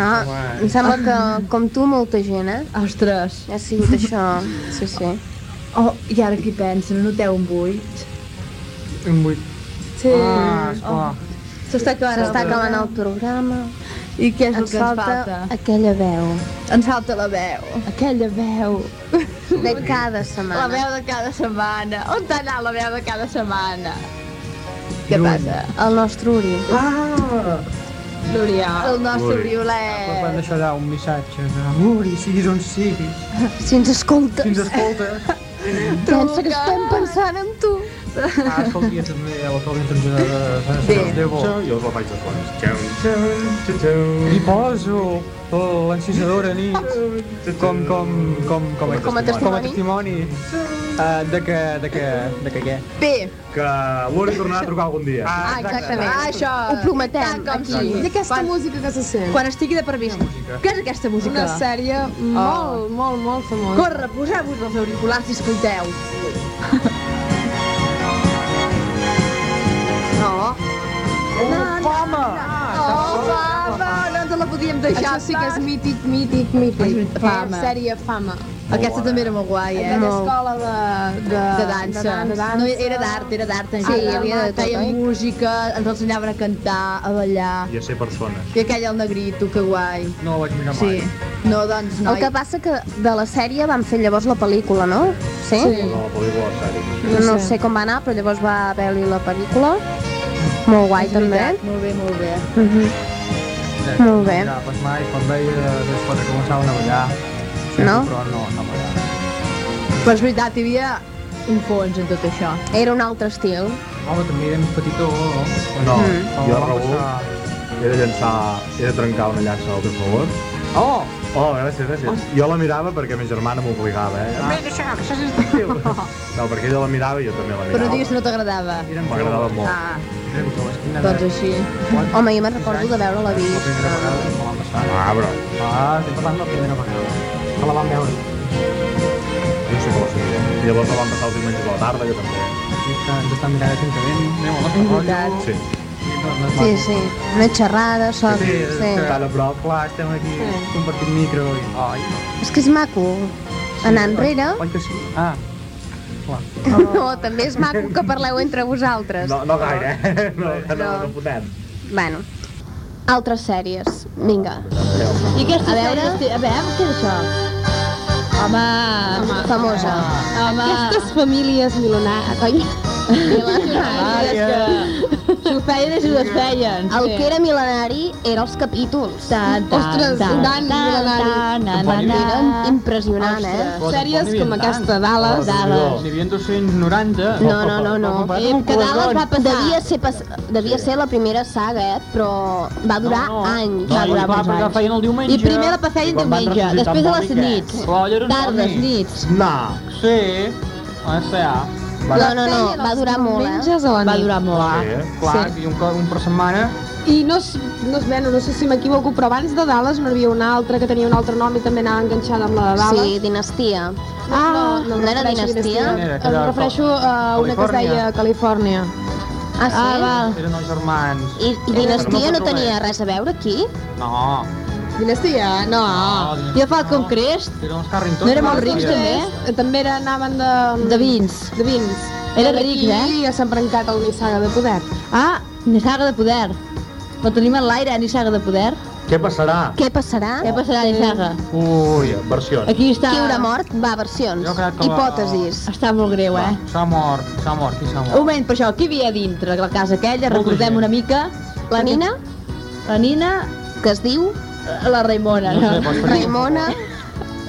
Speaker 2: Ah, em sembla que, com tu, molta gent, eh?
Speaker 6: Ostres.
Speaker 2: Ha sigut
Speaker 6: [LAUGHS]
Speaker 2: això, sí, sí.
Speaker 6: Oh, i ara qui pensa, no noteu un buit?
Speaker 4: Un buit.
Speaker 6: Sí.
Speaker 4: Ah, esclar.
Speaker 6: Oh, S'està acabant,
Speaker 2: S'està acabant el
Speaker 6: programa. I què és el
Speaker 2: Ens
Speaker 6: que ens
Speaker 2: falta
Speaker 6: falta? aquella veu. Ens falta la veu. Aquella veu.
Speaker 2: De cada setmana.
Speaker 6: La veu de cada setmana. On t'ha anat la veu de cada setmana? Què passa?
Speaker 2: El nostre Uri.
Speaker 4: Ah!
Speaker 6: L'Oriol. El nostre
Speaker 4: Uri.
Speaker 6: Oriolet.
Speaker 4: Van deixar allà un missatge de Muri, siguis on siguis.
Speaker 2: Si ens escoltes.
Speaker 4: Si ens escoltes.
Speaker 2: Pensa que estem pensant en tu.
Speaker 4: Ah, escolti, també, a la prova intencionada de Sant Déu.
Speaker 5: Jo us la faig de fons.
Speaker 4: I poso l'encisadora nit com, com, com, com,
Speaker 5: Com a
Speaker 4: Com a testimoni eh, de que, de que, de que què?
Speaker 6: Bé.
Speaker 5: Que l'Uri tornarà a trucar algun dia.
Speaker 6: Ah, exactament. Ah, això.
Speaker 3: Ho prometem,
Speaker 6: Tant
Speaker 3: aquí.
Speaker 6: com sí.
Speaker 3: I aquesta música que se sent?
Speaker 6: Quan estigui de per vist. Què és aquesta música? Oh.
Speaker 3: Una sèrie molt, molt, molt famosa.
Speaker 6: Corre, poseu-vos els auriculars i escolteu. No. No, Obama! No, Obama! No ens la podíem deixar.
Speaker 3: Això sí que és mític, mític, mític.
Speaker 6: Fama.
Speaker 3: Sèrie fama.
Speaker 6: Aquesta també era molt guai, eh?
Speaker 3: Aquella escola de, de,
Speaker 6: de dansa.
Speaker 3: de dansa.
Speaker 6: No, era d'art, era d'art. en
Speaker 3: Sí,
Speaker 6: general.
Speaker 3: hi havia de tot,
Speaker 6: Feien
Speaker 3: oi?
Speaker 6: música, ens ensenyaven a cantar, a ballar.
Speaker 5: I a ser persones.
Speaker 6: I aquell el negrito, que guai.
Speaker 5: No la vaig mirar
Speaker 6: Sí. No, doncs,
Speaker 2: El
Speaker 6: noi.
Speaker 2: que passa que de la sèrie van fer llavors la pel·lícula, no? Sí?
Speaker 5: No, la pel·lícula de sèrie.
Speaker 2: No, no sé com va anar, però llavors va haver-hi la pel·lícula. Molt guai, també.
Speaker 6: Molt bé, molt bé.
Speaker 2: Mhm. Molt bé.
Speaker 4: Ja, pues mai, quan veia, després començaven a ballar.
Speaker 2: No?
Speaker 4: Però no, no ballar.
Speaker 6: Però és veritat, hi havia un fons en tot això.
Speaker 2: Era un altre estil.
Speaker 4: Home, també era més petitó, no?
Speaker 5: No,
Speaker 4: Mm.
Speaker 5: jo a Raül he de llançar, he de trencar una llança del teu favor.
Speaker 4: Oh!
Speaker 5: Oh, gràcies, gràcies. Jo la mirava perquè ma germana m'obligava, eh? Ah,
Speaker 4: això, que això és estil.
Speaker 5: [LAUGHS] No, perquè ella la mirava i jo també la
Speaker 6: Però
Speaker 5: mirava.
Speaker 6: digues que no t'agradava.
Speaker 5: M'agradava molt.
Speaker 6: Ah,
Speaker 4: molt.
Speaker 6: doncs així.
Speaker 2: Home, jo me'n recordo de veure la
Speaker 4: La
Speaker 2: vista.
Speaker 4: primera vegada me l'han passat.
Speaker 5: Ah, però...
Speaker 4: Ah, estic parlant de la primera vegada. Que la vam veure.
Speaker 5: No sé com la seguiré. I llavors la van passar els diumenges a la tarda, jo també.
Speaker 4: Sí, que ens estan mirant atentament. Anem al nostre
Speaker 2: És veritat.
Speaker 4: rotllo.
Speaker 5: Sí.
Speaker 2: Sí, sí. Una xerrada, sols.
Speaker 4: Sí,
Speaker 2: Sí.
Speaker 4: tan a prop, clar, estem aquí
Speaker 2: Sí.
Speaker 4: compartint micro i... Ai,
Speaker 2: És que és maco anar enrere.
Speaker 4: oi que sí? Ah, clar.
Speaker 2: No, també és maco que parleu entre vosaltres.
Speaker 5: No, no gaire, eh? No, no, no,
Speaker 2: No.
Speaker 5: no podem.
Speaker 2: Bueno, altres sèries. Vinga.
Speaker 19: I aquesta
Speaker 2: A veure,
Speaker 19: sèrie, a veure, què és això? Home,
Speaker 2: famosa.
Speaker 19: home.
Speaker 10: Aquestes famílies milonàries, coi?
Speaker 19: Milonàries que...
Speaker 6: Si ho feien és si ho desfeien.
Speaker 2: El que era mil·lenari era els capítols. Ta,
Speaker 6: Ostres, gran mil·lenari.
Speaker 2: Eren impressionant, eh?
Speaker 6: Ostres, Sèries com aquesta, Dallas. Dallas.
Speaker 4: N'hi havia 290.
Speaker 2: No, no, no, no.
Speaker 4: Eh,
Speaker 2: que Dallas va passar. Devia ser, pas... Devia ser la primera saga, eh? Però va durar
Speaker 4: No, no.
Speaker 2: anys.
Speaker 4: No,
Speaker 2: va
Speaker 4: i
Speaker 2: durar
Speaker 4: clar, perquè la feien el diumenge.
Speaker 2: I primer la feien
Speaker 4: I quan van
Speaker 2: diumenge,
Speaker 4: ressuscitar
Speaker 2: després a
Speaker 4: en
Speaker 2: les
Speaker 4: Bobby,
Speaker 2: nits.
Speaker 4: què? Però allò era una
Speaker 2: Tardes,
Speaker 4: nit.
Speaker 2: nits.
Speaker 4: No. Sí. Va ser.
Speaker 2: No, no, no, va durar molt, eh?
Speaker 3: Menges a la nit.
Speaker 2: Va durar molt.
Speaker 4: Sí, eh? clar,
Speaker 3: Sí.
Speaker 4: i un cop un per setmana.
Speaker 3: I no, es- no, es- bueno, no sé si m'equivoco, però abans de Dallas no n'hi havia una altra que tenia un altre nom i també anava enganxada amb la de Dallas.
Speaker 2: Sí, Dinastia.
Speaker 3: Ah,
Speaker 2: no era Dinastia?
Speaker 3: Em refereixo a una que es deia Califòrnia.
Speaker 2: Ah, sí?
Speaker 3: Ah, val.
Speaker 4: Eren els germans.
Speaker 2: I, i Dinastia no tenia
Speaker 4: res.
Speaker 2: res a veure aquí?
Speaker 4: No.
Speaker 6: Dinastia? No.
Speaker 3: Ah,
Speaker 4: No,
Speaker 6: I el Falcon Crest?
Speaker 4: Eren els Carrington.
Speaker 6: No érem els rics, també?
Speaker 3: Eh, També era, anaven de... mm,
Speaker 6: De vins.
Speaker 3: De vins.
Speaker 6: Era
Speaker 3: D'aquí
Speaker 6: ric, eh?
Speaker 3: ja s'ha emprencat el Nissaga de poder.
Speaker 6: Ah, Nissaga de poder. La tenim en l'aire, Nissaga de poder.
Speaker 5: Què passarà?
Speaker 2: Què passarà?
Speaker 6: Què passarà, Nissaga?
Speaker 5: Ui, versions.
Speaker 6: Aquí està...
Speaker 2: Qui haurà mort? Va, versions.
Speaker 4: Jo crec que la-
Speaker 2: Hipòtesis.
Speaker 6: Està molt greu, eh?
Speaker 4: S'ha mort, s'ha mort, qui s'ha
Speaker 6: Un
Speaker 4: mort?
Speaker 6: moment, per això, qui hi havia dintre de la casa aquella?
Speaker 4: Molta
Speaker 6: Recordem
Speaker 4: gent.
Speaker 6: una mica.
Speaker 2: La Nina?
Speaker 6: La Nina...
Speaker 2: Que es diu?
Speaker 6: Eh, La Raimona,
Speaker 5: No sé,
Speaker 6: no?
Speaker 5: pots fer-
Speaker 2: Raimona?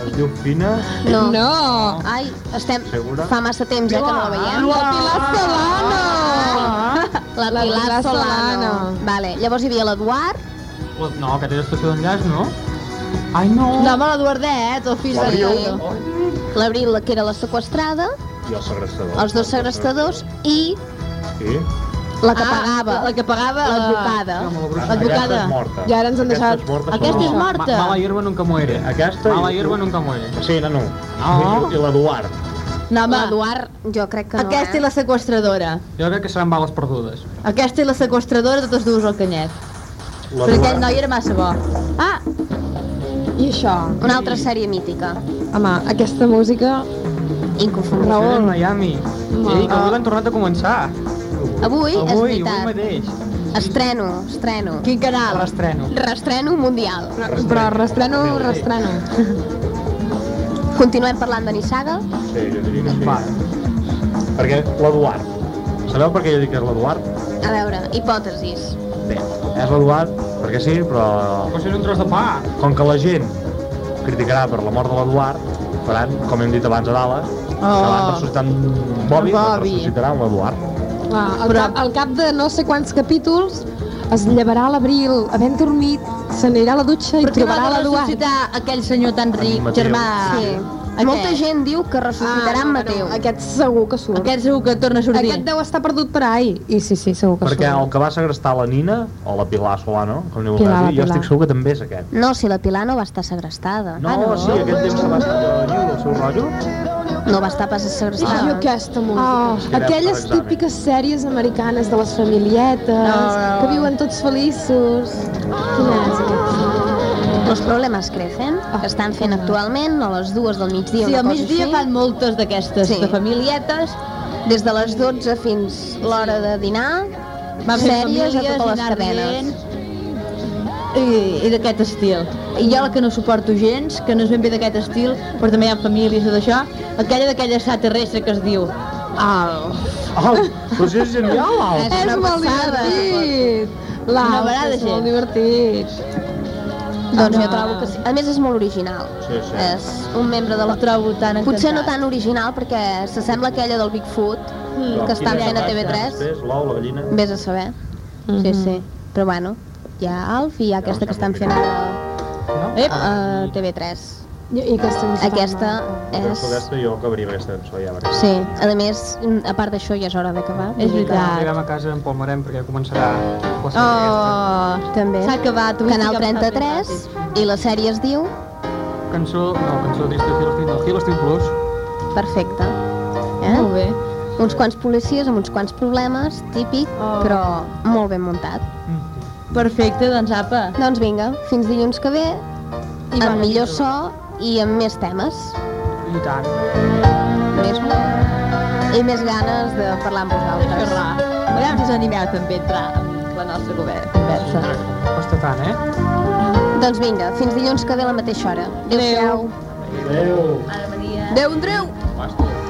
Speaker 5: Es diu Fina,
Speaker 2: No.
Speaker 6: No.
Speaker 2: Ai, estem...
Speaker 5: segura?
Speaker 2: Fa massa temps, eh, que no la veiem.
Speaker 6: La Pilar
Speaker 2: [LAUGHS]
Speaker 6: Solano!
Speaker 2: La Pilar,
Speaker 3: Pilar
Speaker 2: Solano.
Speaker 3: Solano.
Speaker 2: Vale, llavors hi havia l'Eduard.
Speaker 4: No, que té estació d'enllaç, no? Ai, no!
Speaker 6: No, home, l'Eduardet, el fill de
Speaker 2: L'Abril. L'Abril, que era la sequestrada,
Speaker 5: I el segrestador.
Speaker 2: els dos segrestadors i
Speaker 5: Sí.
Speaker 2: la que pagava.
Speaker 6: Ah, La que pagava...
Speaker 2: L'advocada.
Speaker 5: Aquesta és morta.
Speaker 3: Ja ara ens han deixat...
Speaker 6: Aquesta és morta.
Speaker 4: Mala hierba nunca muere.
Speaker 5: Aquesta... i-
Speaker 4: Mala hierba nunca muere.
Speaker 5: Sí, no, no.
Speaker 4: No.
Speaker 5: I l'Eduard.
Speaker 6: No, home,
Speaker 2: L'Eduard, jo crec que no, eh?
Speaker 6: aquesta i la sequestradora.
Speaker 4: Jo crec que seran bales perdudes.
Speaker 6: Aquesta i la sequestradora, totes dues al canyet.
Speaker 4: La
Speaker 6: Però
Speaker 4: Duarte.
Speaker 6: aquest noi era massa bo. Ah,
Speaker 3: I això?
Speaker 2: Una altra sèrie mítica.
Speaker 3: Home, aquesta música...
Speaker 2: Inconforme.
Speaker 4: Raül. Miami. Ei, que avui l'han tornat a començar.
Speaker 2: Avui, és
Speaker 4: avui,
Speaker 2: veritat.
Speaker 4: avui mateix.
Speaker 2: Estreno, estreno.
Speaker 6: Quin canal?
Speaker 4: L'estreno.
Speaker 2: Restreno mundial.
Speaker 3: Però restreno, restreno.
Speaker 2: Continuem parlant de Nissaga.
Speaker 5: Sí, jo diria que sí. Perquè l'Eduard. Sabeu per què jo dic que és l'Eduard?
Speaker 2: A veure, hipòtesis.
Speaker 5: Bé, és l'Eduard perquè sí, però...
Speaker 4: Però si és un tros de pa.
Speaker 5: Com que la gent criticarà per la mort de l'Eduard, faran, com hem dit abans a Dallas, oh. que l'han ressuscitat en Bobby, doncs
Speaker 3: Bobby.
Speaker 5: ressuscitarà en l'Eduard.
Speaker 3: Ah, al, cap, al cap de no sé quants capítols es llevarà a l'abril, havent dormit, s'anirà a la dutxa i
Speaker 6: però qui va
Speaker 3: trobarà l'Eduard.
Speaker 6: ressuscitar aquell senyor tan ric,
Speaker 3: Mateu.
Speaker 6: germà?
Speaker 2: Sí.
Speaker 6: Aquest.
Speaker 2: Molta gent diu que ressuscitarà en
Speaker 3: no,
Speaker 2: Mateu.
Speaker 3: no, Ah, aquest segur que surt.
Speaker 6: Aquest segur que torna a sortir.
Speaker 3: Aquest deu estar perdut per ahí. I sí, sí, segur que
Speaker 5: Perquè el
Speaker 3: surt.
Speaker 5: que va segrestar la Nina, o la Pilar Solano, com li
Speaker 3: Pilar,
Speaker 5: vulgueu dir,
Speaker 3: Pilar. Ah,
Speaker 5: jo estic segur que també és aquest.
Speaker 2: No, si la Pilar no va estar segrestada.
Speaker 5: No, sí, aquest temps que va estar allò lliure, el seu rotllo,
Speaker 2: No va estar pas segrestada.
Speaker 3: Jo aquesta
Speaker 2: Ah.
Speaker 3: música. Oh, aquelles
Speaker 5: Examen.
Speaker 3: típiques sèries americanes de les familietes, que viuen tots feliços. Quina és aquesta?
Speaker 2: Los problemes crecen, que estan fent actualment a les dues del migdia.
Speaker 6: Sí,
Speaker 2: una
Speaker 6: al
Speaker 2: cosa
Speaker 6: migdia
Speaker 2: així.
Speaker 6: fan moltes d'aquestes,
Speaker 2: Sí.
Speaker 6: de familietes.
Speaker 2: Des de les 12 fins l'hora de dinar,
Speaker 6: Van fer
Speaker 2: sèries a
Speaker 6: famílies,
Speaker 2: totes les
Speaker 6: dinar
Speaker 2: cadenes.
Speaker 6: I, i d'aquest estil. I jo la que no suporto gens, que no és ben bé d'aquest estil, però també hi ha famílies o d'això, aquella d'aquella extraterrestre que es diu... Al...
Speaker 5: Oh, però si és genial, Alf.
Speaker 6: És una
Speaker 3: molt
Speaker 6: passada.
Speaker 3: divertit! La,
Speaker 6: Una vegada,
Speaker 3: és
Speaker 6: gent.
Speaker 3: molt divertit.
Speaker 2: Doncs
Speaker 6: Ah,
Speaker 2: jo
Speaker 6: no.
Speaker 2: trobo que sí. A més, és molt original.
Speaker 5: Sí, sí.
Speaker 2: És un membre de la...
Speaker 6: El trobo tan encantat.
Speaker 2: Potser no tan original perquè s'assembla a aquella del Bigfoot que estan fent a TV3.
Speaker 5: Després, l'ou, la gallina...
Speaker 2: Vés a saber. Sí, sí. Però bueno, hi ha Alf i hi ha aquesta que estan fent a,
Speaker 4: Ah,
Speaker 6: Ep!
Speaker 2: a TV3.
Speaker 3: I, i aquesta música.
Speaker 2: Aquesta és...
Speaker 5: Aquesta, aquesta jo acabaria aquesta cançó, ja veuré.
Speaker 2: Sí, a més, a part d'això ja és hora d'acabar.
Speaker 6: És veritat.
Speaker 4: Arribem a casa, empalmarem, perquè començarà la sèrie aquesta.
Speaker 6: Oh,
Speaker 2: També.
Speaker 6: s'ha acabat. avui
Speaker 2: Canal
Speaker 6: sí que ha passat
Speaker 2: 33 i la sèrie es diu
Speaker 4: Cançó, no, cançó trista, Hill Steel, no, Hill Steel Blues.
Speaker 2: Perfecte. Eh?
Speaker 6: Molt bé.
Speaker 2: Uns quants policies amb uns quants problemes, típic,
Speaker 6: Oh.
Speaker 2: però molt ben muntat.
Speaker 6: Mm. Perfecte, doncs apa.
Speaker 2: Doncs vinga, fins dilluns que ve,
Speaker 6: I
Speaker 2: amb
Speaker 6: bona
Speaker 2: millor
Speaker 6: nit.
Speaker 2: so i amb més temes.
Speaker 4: I tant.
Speaker 2: Més I més ganes de parlar amb vosaltres.
Speaker 6: Parlar. A veure si us animeu també a entrar en la nostra gover- conversa.
Speaker 4: Costa tant, eh?
Speaker 2: Doncs vinga, fins dilluns que ve a la mateixa hora. Adéu-siau.
Speaker 5: Adéu!
Speaker 6: Ara, Maria.
Speaker 2: Adéu, Andreu!
Speaker 5: Basta.